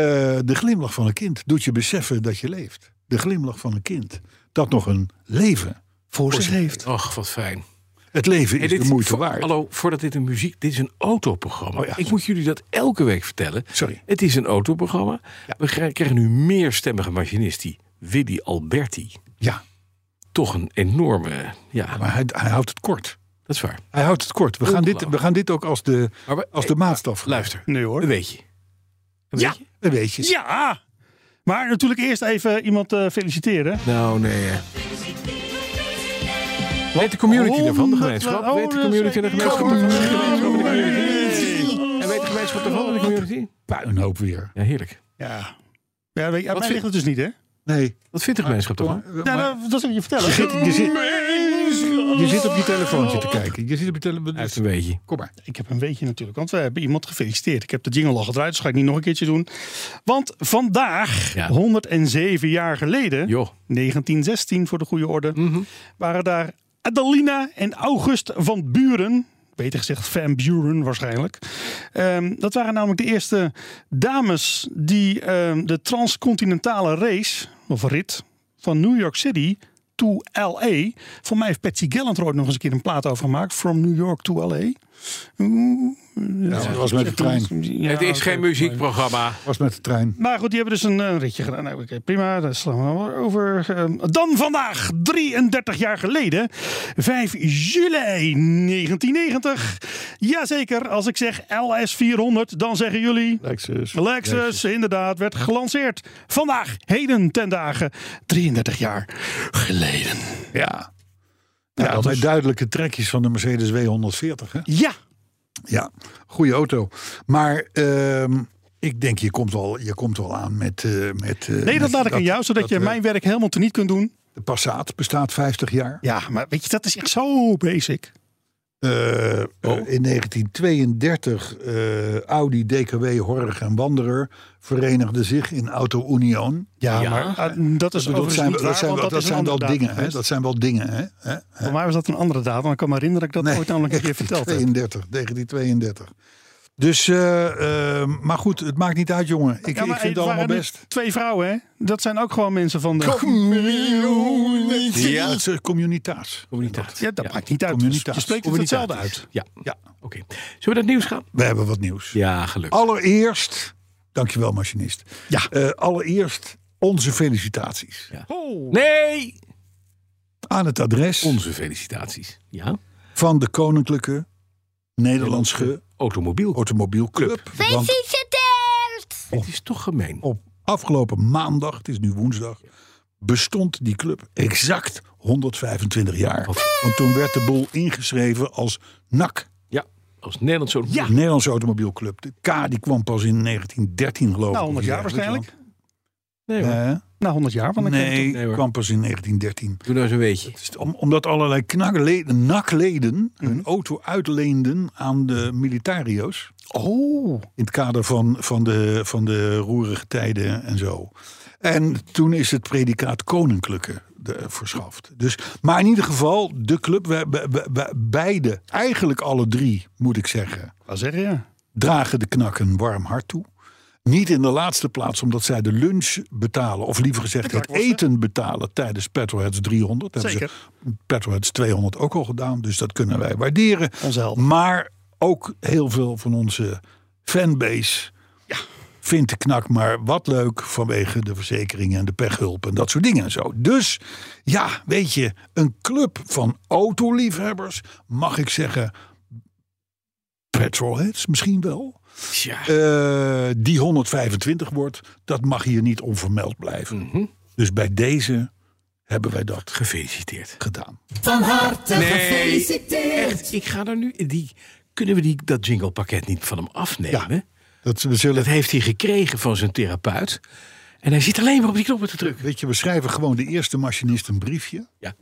de glimlach van een kind doet je beseffen dat je leeft. De glimlach van een kind dat nog een leven voor zich heeft. ach, wat fijn. Het leven Hey, is dit- Dus de moeite voor- waard. Hallo, voordat dit een muziek... Dit is een autoprogramma. Oh ja. Ik moet jullie dat elke week vertellen. Sorry. Het is een autoprogramma. We kri- krijgen nu meer stemmige machinist die Willy Alberti. Ja, Toch een enorme... Ja, maar hij, hij houdt het kort. dat is waar. Hij houdt het kort. We gaan dit, Ongelooflijk. we gaan dit ook als de, Maar we- eh, als de maatstaf. Luister, Nu hoor. een beetje. Een Ja. beetje? Een beetje. Ja! Maar natuurlijk eerst even iemand eh, feliciteren. Nou, nee. eh. Weet de community Honderd- daarvan, de gemeenschap? oh, weet de dat community is- de gemeenschap? Ja, Weet de gemeenschap en de community? En weet de gemeenschap daarvan en de community? Puinhoop weer. Ja, heerlijk. Ja. Ja, weet, ja, mij vind- ligt het dus niet, hè? Nee. Wat vindt de gemeenschap daarvan? Ja, nou, dat, dat zal ik je vertellen. Je zit, je, zit, je zit op je telefoontje te kijken. Je zit op je Uit telefoontje. een beetje. Kom maar. Ik heb een weetje natuurlijk, want we hebben iemand gefeliciteerd. Ik heb de jingle al gedraaid, dus ga ik niet nog een keertje doen. Want vandaag, Ja. 107 jaar geleden, Joh. 1916 voor de goede orde, waren daar Adelina en August van Buren. Beter gezegd Van Buren waarschijnlijk. Ehm, dat waren namelijk de eerste dames die ehm, de transcontinentale race, of rit, van New York City to LA. Voor mij heeft Patsy Gallant er ooit nog eens een keer een plaat over gemaakt. From New York to LA. Het was met de trein. Ja, het is oké. geen muziekprogramma. was met de trein. Maar goed, die hebben dus een, eh, ritje gedaan. Nou, oké, prima, daar slaan we dan wel over. Ehm, Dan vandaag, 33 jaar geleden, 5 juli 1990. Jazeker, als ik zeg LS400, dan zeggen jullie... Lexus. Lexus, inderdaad, werd gelanceerd. Vandaag, heden ten dagen, 33 jaar geleden. Ja. Ja, met duidelijke trekjes van de Mercedes W140. Hè? Ja, Ja, goede auto. Maar ehm, ik denk, je komt wel, je komt wel aan met... eh, met eh, nee, dat met- laat ik aan jou, zodat dat, je eh, mijn werk helemaal teniet kunt doen. De Passat bestaat 50 jaar. Ja, maar weet je, dat is echt zo basic. Eh, eh, in 1932 eh, Audi, DKW, Horg en Wanderer verenigden zich in Auto Union. Ja, maar eh, dat Ik is bedoel, Dat overigens zijn, niet dat waar, zijn, want wel- dat is een zijn wel andere dingen. datum Hè? geweest. Dat zijn wel dingen. Hè? Hè? Voor mij was dat een andere datum. Ik kan me herinneren dat ik dat ooit namelijk een keer verteld heb. 32, 1932. Dus, eh, eh, maar goed, het maakt niet uit, jongen. Ik, Ja, maar ik vind het het allemaal waren best. Twee vrouwen, hè? Dat zijn ook gewoon mensen van de... Community. Ja. Het is eh, communita's. Communitaat. Ja, dat maakt niet uit. Je Communitatis. spreekt het Communitatis. hetzelfde uit. Ja, Ja, oké. Zullen we naar het nieuws gaan? we hebben wat nieuws. Ja, gelukkig. Allereerst, dankjewel machinist. Ja. Eh, allereerst onze felicitaties Oh. Nee! aan het adres Onze felicitaties. Ja? van de Koninklijke Nederlandse Automobiel. Automobielclub. Want Het is toch gemeen. op afgelopen maandag, het is nu woensdag, bestond die club exact 125 jaar. Want toen werd de boel ingeschreven als NAC. Ja, als Nederlands zo'n... De Nederlandse dus Automobielclub. De K die kwam pas in 1913 geloof ik. Na 100 Nou, jaar Of iets waarschijnlijk. Nee hoor. dergelijks. Na 100 jaar. Want Eh, dan kan je nee, Nee, hoor. kwam pas in 1913. Doe nou eens een beetje. Om- omdat allerlei knakleden, nakleden hun auto uitleenden aan de militario's. In Oh. het kader van, van, de, van de roerige tijden en zo. En toen is het predicaat koninklijke de, verschaft. Dus, maar in ieder geval, de club, wij, wij- wij- wij- beide, eigenlijk alle drie moet ik zeggen, Wat zeg je? Ja. dragen de knak een warm hart toe. Niet in de laatste plaats omdat zij de lunch betalen, of liever gezegd het eten betalen tijdens Petroheads 300. Dat hebben Zeker. ze Petroheads 200 ook al gedaan, dus dat kunnen wij waarderen. Onze held. Maar ook heel veel van onze fanbase vindt de knak maar wat leuk vanwege de verzekeringen en de pechhulp en dat soort dingen en zo. Dus ja, weet je, een club van autoliefhebbers, mag ik zeggen, petrolheads misschien wel. Eh, die 125 wordt, dat mag hier niet onvermeld blijven. Dus bij deze hebben wij dat Gefeliciteerd. gedaan. Van harte gefeliciteerd. Echt, ik ga daar nu... Die, kunnen we die, dat jinglepakket niet van hem afnemen? Dat, we zullen, Dat heeft hij gekregen van zijn therapeut. En hij zit alleen maar op die knoppen te drukken. weet je, we schrijven gewoon de eerste machinist een briefje. Ja.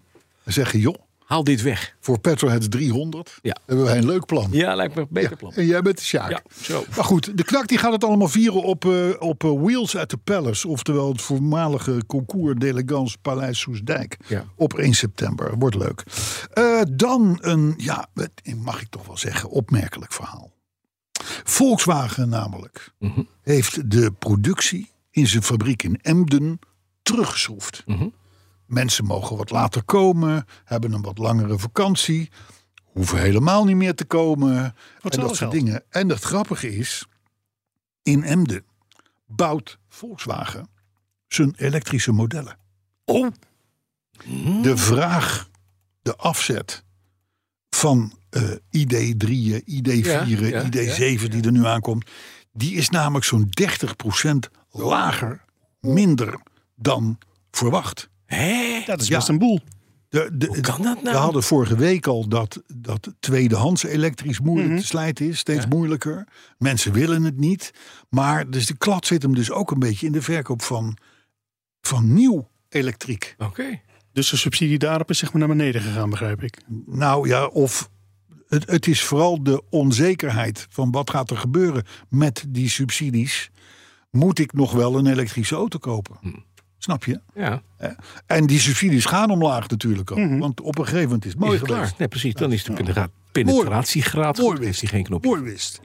En zeggen, joh, Haal dit weg. voor Petroheads 300 Ja. hebben wij een leuk plan. Ja, lijkt me een beter Ja, plan. En jij bent de Sjaak. Ja, zo. Maar goed, de knak die gaat het allemaal vieren op, eh, op eh, Wheels at the Palace. Oftewel het voormalige concours d'élégance Paleis Soesdijk. Ja. Op 1 september. Wordt leuk. Eh, dan een, ja, het- mag ik toch wel zeggen, opmerkelijk verhaal. Volkswagen namelijk Mhm. heeft de productie in zijn fabriek in Emden teruggeschroefd. Mensen mogen wat later komen, hebben een wat langere vakantie, hoeven helemaal niet meer te komen. en hetzelfde dat soort geld. dingen. En het grappige is, in Emden bouwt Volkswagen zijn elektrische modellen. Oh. De vraag, de afzet van eh, ID3'en, ID4'en, Ja, ja, ID7 die er nu aankomt, die is namelijk zo'n 30% lager, minder dan verwacht. Hé? Dat is Ja. best een boel. De, de, Hoe kan dat nou? We hadden vorige week al dat, dat tweedehands elektrisch moeilijk te slijten is. Steeds moeilijker. Mensen willen het niet. Maar dus de klad zit hem dus ook een beetje in de verkoop van, van nieuw elektriek. Oké. Dus de subsidie daarop is zeg maar naar beneden gegaan, begrijp ik. Nou ja, of het, het is vooral de onzekerheid van wat gaat er gebeuren met die subsidies. Moet ik nog wel een elektrische auto kopen? Hm. Snap je? Ja, En die subsidies gaan omlaag natuurlijk ook. Want op een gegeven moment is het mooi is het geweest. klaar. Nee, precies. Dan is de penetra- penetratiegraad Mooi goed. weer. Heeft hij geen knopje. Mooi wist.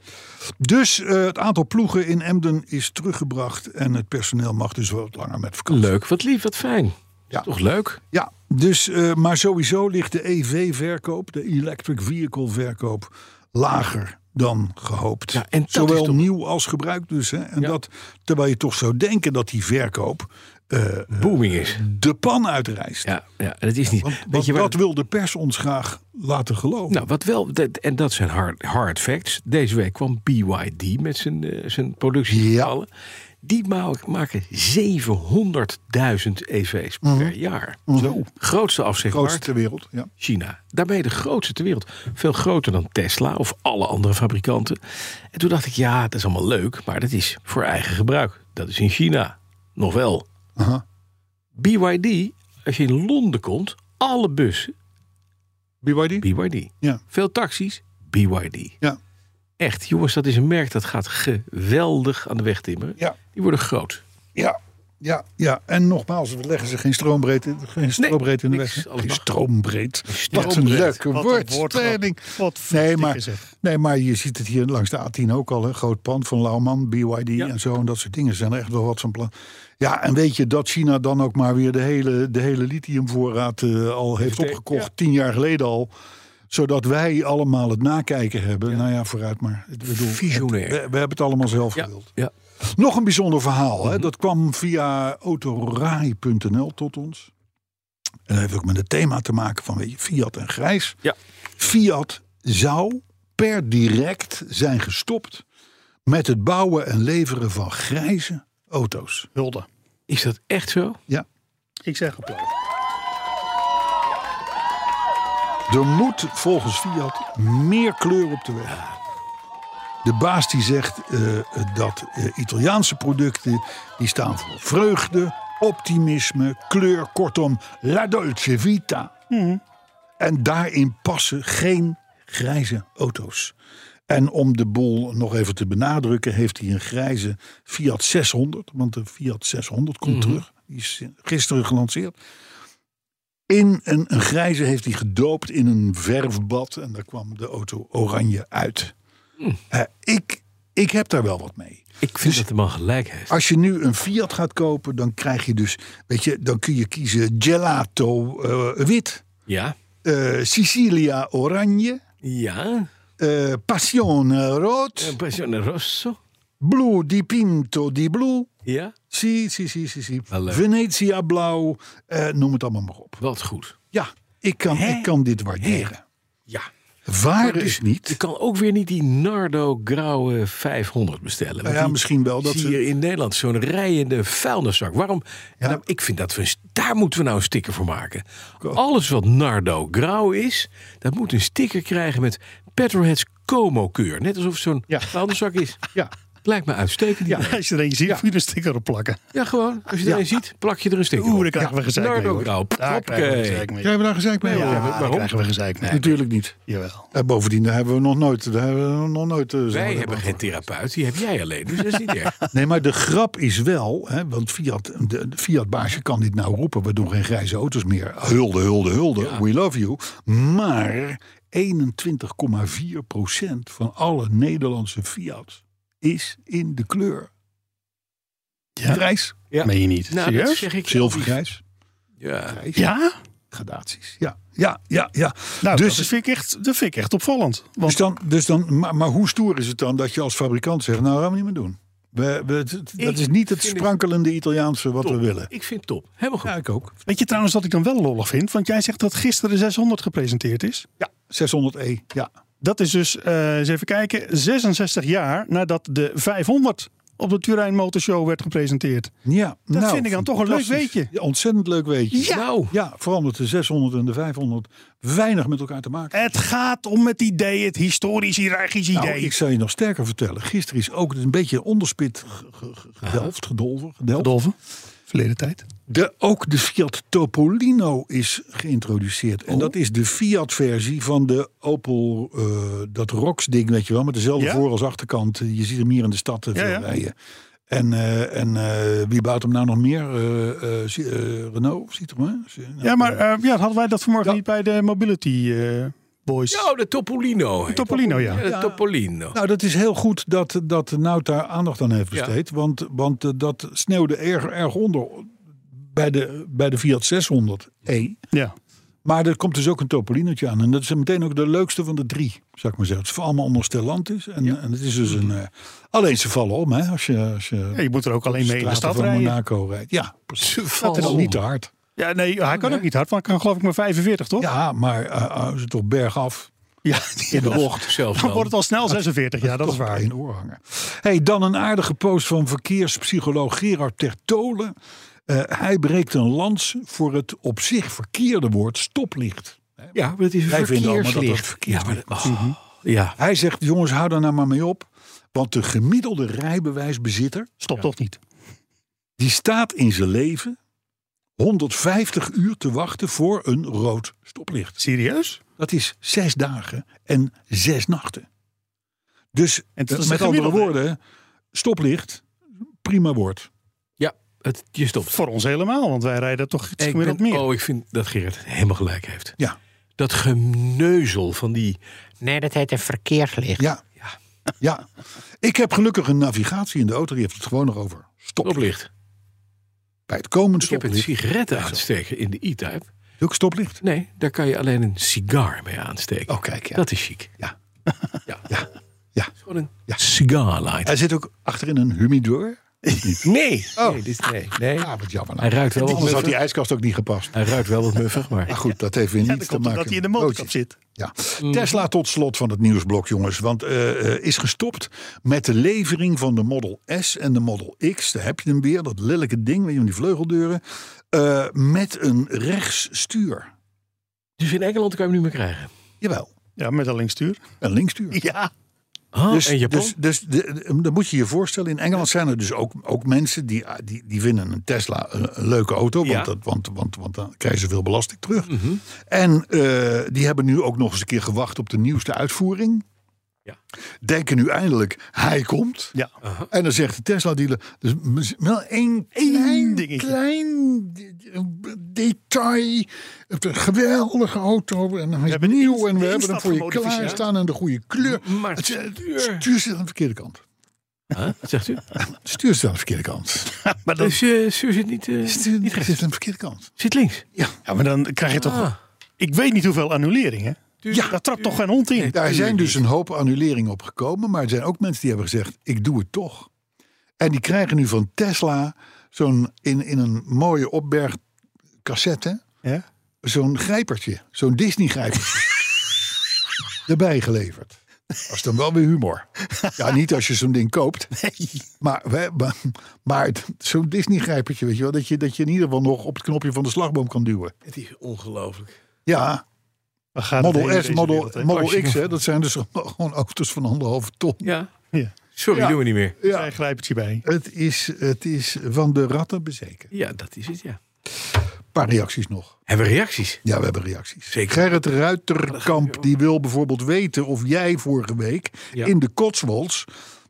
Dus eh, het aantal ploegen in Emden is teruggebracht. En het personeel mag dus wat langer met vakantie. Leuk, wat lief, wat fijn. Ja. Toch leuk? Ja, E dus, eh, maar sowieso ligt de EV-verkoop, de Electric Vehicle-verkoop, lager dan gehoopt. Ja, en dat Zowel is toch- nieuw als gebruikt dus. Hè? En dat, terwijl je toch zou denken dat die verkoop eh, Booming is. de pan uitreist. Ja, ja en het is niet. Want, Weet want je waar- dat wil de pers ons graag laten geloven. Nou, wat wel, dat- en dat zijn hard, hard facts. Deze week kwam BYD met zijn, eh, zijn productie. Ja. gevallen. Die ma- maken 700.000 EV's per jaar. Zo, Grootste afzichtmarkt Mhm. grootste ter wereld. Ja. China. Daarmee de grootste ter wereld. Veel groter dan Tesla of alle andere fabrikanten. En toen dacht ik, ja, dat is allemaal leuk, maar dat is voor eigen gebruik. Dat is in China. Nog wel. Aha. BYD, als je in Londen komt, alle bussen BYD? BYD. Ja. Veel taxis BYD. Ja. Echt, jongens, dat is een merk dat gaat geweldig aan de weg timmeren. Ja. Die worden groot. Ja, ja, ja. En nogmaals, we leggen ze geen stroombreedte geen stroombreedte in de niks, weg. alles Geen mag. stroombreed. Wat een stroombreed. leuke Wat een woordspeling. woordgrap. Wat Nee dikke maar, zeg. nee, maar je ziet het hier langs de A10 ook al. Hè. Groot pand van Lauwman, BYD en zo. En dat soort dingen zijn er echt wel wat van plan. Ja, en weet je dat China dan ook maar weer de hele, de hele lithiumvoorraad eh, al heeft opgekocht. Tien jaar geleden al. Zodat wij allemaal het nakijken hebben. Nou ja, vooruit maar. Ik bedoel, Visionair. We, we hebben het allemaal zelf Ja. gewild. ja. Nog een bijzonder verhaal. Hè? Dat kwam via autorai.nl tot ons. En dat heeft ook met het thema te maken van weet je, Fiat en grijs. Ja. Fiat zou per direct zijn gestopt met het bouwen en leveren van grijze auto's. Hulde. Is dat echt zo? Ja. Ik zeg applaus. Er moet volgens Fiat meer kleur op de weg. De baas die zegt eh, dat eh, Italiaanse producten die staan voor vreugde, optimisme, kleur, kortom, la dolce vita. En daarin passen geen grijze auto's. En om de boel nog even te benadrukken, heeft hij een grijze Fiat 600. Want de Fiat 600 komt terug. Die is gisteren gelanceerd. In een, een grijze heeft hij gedoopt in een verfbad. En daar kwam de auto oranje uit. Hmm. Eh, ik, ik heb daar wel wat mee. Ik vind dat de man gelijk heeft. Als je nu een Fiat gaat kopen, dan krijg je dus, weet je, dan kun je kiezen gelato eh, wit, Ja. eh, Sicilia oranje, Ja. eh Passione rood, Een Passione Rosso. Blue dipinto di blu, Ja. si, si, si, si, si, Wel leuk. Venetia blauw, eh, noem het allemaal maar op. Wat goed. Ja, ik kan, ik kan dit waarderen. Ja. Waar is Je niet. kan ook weer niet die Nardo Grauwe 500 bestellen. want ja, die misschien wel dat zie ze- je in Nederland zo'n rijende vuilniszak. Waarom? Nou, ik vind dat we... een st- Daar moeten we nou een sticker voor maken. Alles wat Nardo Grauw is, dat moet een sticker krijgen met Petroheads Como-keur. Net alsof het zo'n Ja. vuilniszak is. Ja. Lijkt me uitstekend. Ja, Als je er een ziet, moet je er een sticker op plakken. ja gewoon. Als je er een ziet, plak je er een sticker Oeh, op. daar krijgen we gezeik mee. Nardo hoor. Grauw. Daar krijgen we Hoppakee. gezeik mee. Jij we daar gezegd mee? Ja, hoor. daar krijgen we gezeik mee. Natuurlijk niet. Jawel. En bovendien, daar hebben we nog nooit. Daar hebben we nog nooit eh, zo'n Wij debat hebben geen over. therapeut, die heb jij alleen. Dus dat is niet erg. Nee, maar de grap is wel, hè, want Fiat, de, de Fiat-baasje kan dit nou roepen. We doen geen grijze auto's meer. Hulde, hulde, hulde. We love you. Maar 21,4% van alle Nederlandse Fiat is in de kleur. Grijs, Ja. Meen je niet? Nou, dat zeg ik. zilvergrijs, Ja. Ja? gradaties. Ja, ja, ja, ja. Nou, Dus- dus, dat vind ik echt, dat vind ik echt opvallend. Dus Want dan, dus dan, maar, maar hoe stoer is het dan dat je als fabrikant zegt: Nou, dat gaan we niet meer doen? We, we- het- het- dat Ik is niet het vind het sprankelende Italiaanse wat we Top. willen. Ik vind het top. Helemaal goed. Ja, ik ook. weet je trouwens wat ik dan wel lollig vind? Want jij zegt dat gisteren 600 gepresenteerd is. Ja, 600e. Ja. Dat is dus, eh, eens even kijken, 66 jaar nadat de 500 op de Turijn Motorshow werd gepresenteerd. ja Dat nou, vind ik dan toch een leuk fantastisch. weetje. Ja, ontzettend leuk weetje. Ja. Nou. ja, vooral omdat de 600 en de 500 weinig met elkaar te maken Het gaat om het idee, het historisch hierarchisch idee. Nou, ik zou je nog sterker vertellen. Gisteren is ook dus een beetje onderspit ge- ge- ge- gedelft, gedolven. gedelft. Dolven, verleden tijd. De, ook de Fiat Topolino is geïntroduceerd. Oh. En dat is de Fiat-versie van de Opel, eh, dat ROX-ding, weet je wel. Met dezelfde Ja? voor- als achterkant. Je ziet hem hier in de stad eh, Ja, veel ja. rijden. En, eh, en eh, wie bouwt hem nou nog meer? Eh, eh, Ci- eh, Renault of Citroën? Ja, maar eh, ja, hadden wij dat vanmorgen Ja. niet bij de Mobility eh, Boys? Nou, de Topolino. heet. Topolino, ja. Ja, de Topolino. Nou, dat is heel goed dat, dat Nout daar aandacht aan heeft Ja. besteed. Want, want eh, dat sneeuwde erg, erg onder bij de, bij de Fiat 600e. Ja. Maar er komt dus ook een Topolinootje aan. En dat is meteen ook de leukste van de drie, zou ik maar zeggen. Het is voor allemaal ondersteland is. En, en het is dus een... eh, alleen ze vallen om, hè. Als je, als je Ja, je moet er ook alleen mee in de straten stad van rijden. Monaco rijdt. Ja, precies. vallen Dat is niet te hard. Ja, nee, hij kan ook niet hard, want hij kan geloof ik maar 45, toch? Ja, maar eh, eh, ze toch bergaf Ja, in de bocht. Zelfs dan wordt het dan. al snel 46, ja, dat is Toch waar. één oor hangen. Hey, dan een aardige post van verkeerspsycholoog Gerard Tertolen. Eh, hij breekt een lans voor het op zich verkeerde woord stoplicht. Ja, maar het is een Wij vinden allemaal dat Mhm. dat verkeerslicht. verkeerslicht ja, maar, oh, ja. Hij zegt, jongens, hou daar nou maar mee op. Want de gemiddelde rijbewijsbezitter, Stop toch niet. die staat in zijn leven 150 uur te wachten voor een rood stoplicht. Serieus? Dat is zes dagen en zes nachten. Dus En dat eh, is met een andere gemiddelde. woorden, stoplicht, prima woord. ja het, je stopt. Voor ons helemaal, want wij rijden toch iets Ik gemiddeld ben- meer. Oh, ik vind dat Gerrit helemaal gelijk heeft. Ja, Dat geneuzel van die... Nee, dat heet een verkeerslicht. ja, Ja, ja. Ik heb gelukkig een navigatie in de auto, die heeft het gewoon nog over. Stoplicht. stoplicht. Bij het komend Ik heb een stoplicht, sigaretten aansteken in de e-type. ook stoplicht. Nee, daar kan je alleen een sigaar mee aansteken. Oh, kijk, ja. Dat is chic. Ja. ja. Ja. Het is Gewoon een sigaarlight. Hij zit ook achterin een humidor. Nee. Nee, dit, nee, nee. Ja, wat jammer. nou. Hij ruikt wel wat Anders had die muffig. ijskast ook niet gepast. Hij ruikt wel wat muffig, maar... Maar goed, dat heeft weer En niets dan te komt maken dat hij in de met motorkap broodjes. zit. Ja. Mm. Tesla tot slot van het nieuwsblok, jongens. Want eh, eh, is gestopt met de levering van de Model S en de Model X. Daar heb je hem weer, dat lelijke ding weet je, met die vleugeldeuren. Eh, met een rechtsstuur. Dus in Engeland kan je hem niet meer krijgen. Jawel, Ja, met een linksstuur. een linksstuur. Ja. Oh, Dus, en Japan? dus, dus de- de- dan moet je je voorstellen, in Engeland zijn er dus ook, ook mensen die, eh, die, die vinden een Tesla een, een leuke auto, want, Ja. Mhm. dat, want, want, want dan krijgen ze veel belasting terug. En eh, die hebben nu ook nog eens een keer gewacht op de nieuwste uitvoering. Ja. Denken nu eindelijk, hij komt. Ja. En dan zegt de Tesla dealer, dus mis- wel één klein, dingetje. klein de- de- detail. Het is een geweldige auto en hij is hebben de nieuw inst- en we de hebben hem instap voor je gemodificeerd. klaarstaan en de goede kleur. Maar Het- het het stuur. stuur zit aan de verkeerde kant. Huh? Zegt u? Het stuur zit aan de verkeerde kant. Maar dan, Dus eh Suur zit niet, eh, Het stuur niet rechts. zit aan de verkeerde kant. Zit links. ja, maar dan krijg je toch... Ah. Ik weet niet hoeveel annuleringen. Ja, daar trapt toch geen hond in. Dus Daar zijn dus een hoop annuleringen op gekomen. Maar er zijn ook mensen die hebben gezegd, ik doe het toch. En die krijgen nu van Tesla zo'n in, in een mooie opberg cassette... Ja. zo'n grijpertje, zo'n Disney-grijpertje. erbij geleverd. Dat is dan wel weer humor. Ja, niet als je zo'n ding koopt. Maar, we- maar, maar het- zo'n Disney-grijpertje, weet je wel, dat je, dat je in ieder geval nog op het knopje van de slagboom kan duwen. Het is ongelooflijk. Ja, Waar gaat het heen Model in S, deze Model, wereld, hè? Als Model je X, hè, dat zijn dus gewoon auto's van anderhalve ton. Ja. Ja. Sorry, doen we niet meer. Ja. Een grijpertje bij. Het, is, het is van de ratten bezeken. Ja, dat is het, ja. Een paar reacties nog. Hebben we reacties? Ja, we hebben reacties. Zeker. Gerrit Ruiterkamp die wil bijvoorbeeld weten of jij vorige week Ja. in de Cotswolds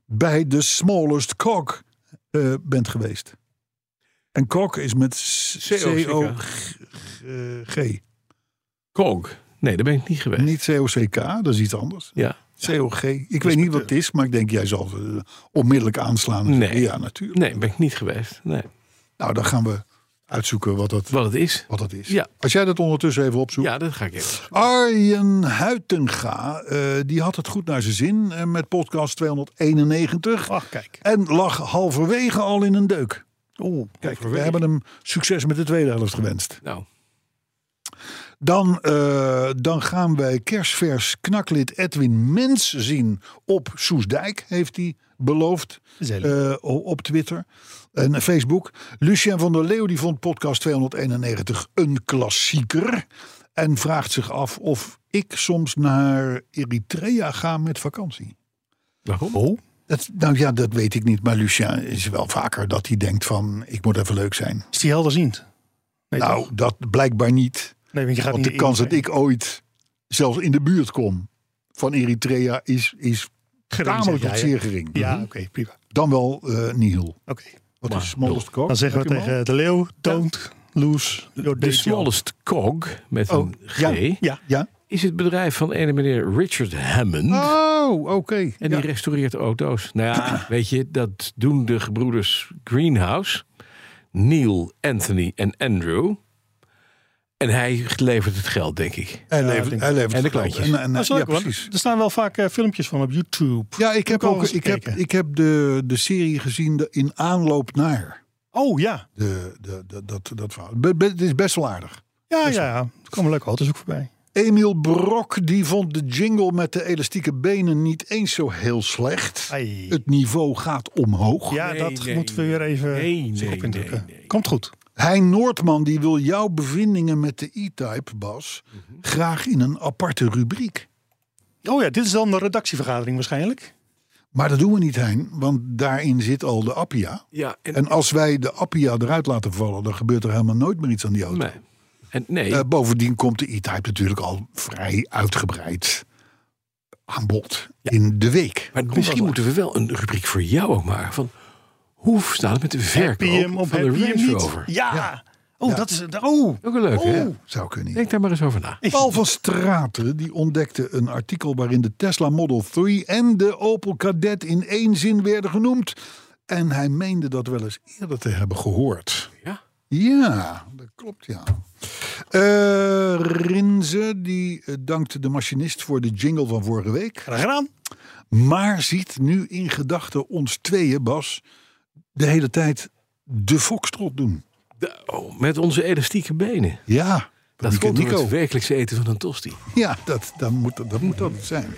bij de Smallest Cog eh, bent geweest. En Cog is met C-O-C-K. eh, C-O-G. Kog. Nee, daar ben ik niet geweest. Niet C-O-C-K, dat is iets anders. Ja. Dus C-O-G. Ik weet niet wat het is, maar ik denk jij zal eh, onmiddellijk aanslaan. en Nee. zeggen, Ja, natuurlijk. Nee, ben ik niet geweest. Nee. Nou, dan gaan we uitzoeken wat dat, Wat het is. wat dat is. Ja. Als jij dat ondertussen even opzoekt. Ja, dat ga ik even. Arjen Huitenga, eh, die had het goed naar zijn zin eh, met podcast 291. Ach, kijk. En lag halverwege al in een deuk. Oeh. Kijk, we hebben hem succes met de tweede helft gewenst. Nou, Dan, eh, dan gaan wij kerstvers knaklid Edwin Mens zien op Soesdijk, heeft hij beloofd Gezellig. eh, o- op Twitter en Facebook. Lucien van der Leeuw die vond podcast 291 een klassieker en vraagt zich af of ik soms naar Eritrea ga met vakantie. waarom? Dat, nou ja, dat weet ik niet, maar Lucien is wel vaker dat hij denkt van ik moet even leuk zijn. Is die helderziend? Nee, nou, toch? dat blijkbaar niet. nee, want je gaat Want de niet kans in- dat ik ooit zelfs in de buurt kom van Eritrea is, is Gering, tamelijk zeg tot jij, zeer gering. Mhm. Ja, oké, prima. Dan wel eh nihil. Oké. Wat is smallest cock? Dan zeggen we Heb je hem tegen de leeuw, don't lose your De dick smallest cog, met Oh, een G, ja. Ja. al? Ja? is het bedrijf van ene meneer Richard Hammond. Oh, oké. En Ja. die restaureert auto's. Nou ja, weet je, dat doen de gebroeders Greenhouse, Neil, Anthony en Andrew. En hij levert het geld, denk ik. Hij Ja, levert, denk hij levert En de het geld. klantjes. En- en- Dat is ja, leuk, want precies. er staan Oh, wel vaak eh, filmpjes van op YouTube. Ja, ik heb al ook eens ik heb, gekeken. ik heb de, de serie gezien de- in aanloop naar Oh ja. de, de, de- dat, dat verhaal. Be- be- Het is best wel aardig. Ja, ja, ja. Er komen leuke auto's ook voorbij. Emiel Brok die vond de jingle met de elastieke benen niet eens zo heel slecht. Ai. Het niveau gaat omhoog. Ja, Nee, dat nee, moeten we weer even nee, zich nee, op indrukken. nee, nee. Komt goed. Hein Noordman die wil jouw bevindingen met de E-Type, Bas, Mhm. graag in een aparte rubriek. Oh ja, dit is dan de redactievergadering waarschijnlijk. Maar dat doen we niet, Hein, want daarin zit al de Appia. Ja, en, En als wij de Appia eruit laten vallen, dan gebeurt er helemaal nooit meer iets aan die auto. nee. En, nee. Eh, bovendien komt de E-Type natuurlijk al vrij uitgebreid aan bod in de week. maar misschien moeten we wel een rubriek voor jou ook maken. Van, hoe staat het met de verkoop PM of van de heb je hem Range niet? Rover? Ja. Oh, dat is... Oh. Ook wel leuk, hè? Oh, zou kunnen. Denk daar maar eens over na. Paul van Straten die ontdekte een artikel waarin de Tesla Model 3 en de Opel Kadett in één zin werden genoemd. En hij meende dat wel eens eerder te hebben gehoord. Ja. Ja, dat klopt ja. Eh, Rinze die eh, dankt de machinist voor de jingle van vorige week. Graag gedaan. Maar ziet nu in gedachten ons tweeën, Bas, de hele tijd de foxtrot doen. De- oh, met onze elastieke benen. Ja, Dat Nico- komt door Nico. het wekelijkse eten van een tosti. Ja, dat, dat, moet, dat moet dat zijn.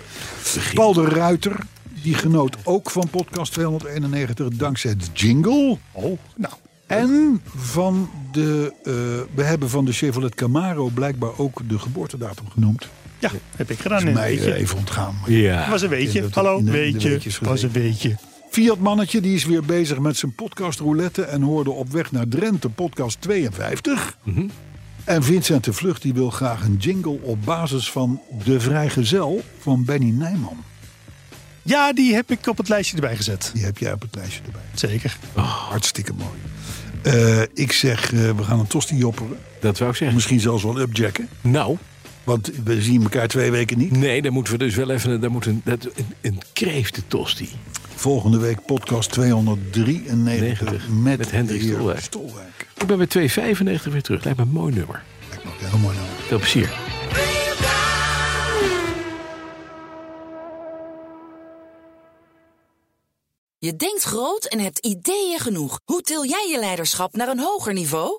Paul de Ruiter, die genoot ook van podcast 291 dankzij de jingle. Oh, nou. En van de, eh, we hebben van de Chevrolet Camaro blijkbaar ook de geboortedatum genoemd. Ja, heb ik gedaan. Is Een mij eh, weetje. even ontgaan. maar- Ja. Was een In weetje. de- Hallo, in de- in de weetjes weetje. Was een weetje. Fiat Mannetje die is weer bezig met zijn podcast roulette en hoorde op weg naar Drenthe podcast 52. En Vincent de Vlucht die wil graag een jingle op basis van De Vrijgezel van Benny Nijman. Ja, die heb ik op het lijstje erbij gezet. Die heb jij op het lijstje erbij. Zeker. Hartstikke mooi. Eh, ik zeg, eh, we gaan een tosti jopperen. Dat wou ik zeggen. Misschien zelfs wel upjacken. Nou, Want we zien elkaar twee weken niet. nee, daar moeten we dus wel even... Daar moet een, dat, een, een kreeften tosti. Volgende week podcast 293 90, met, met Hendrik de heer Stolwijk. Stolwijk. Ik ben bij 2,95 weer terug. Lijkt me een mooi nummer. Lijkt me ook heel mooi. nou. Veel plezier. Je denkt groot en hebt ideeën genoeg. Hoe til jij je leiderschap naar een hoger niveau?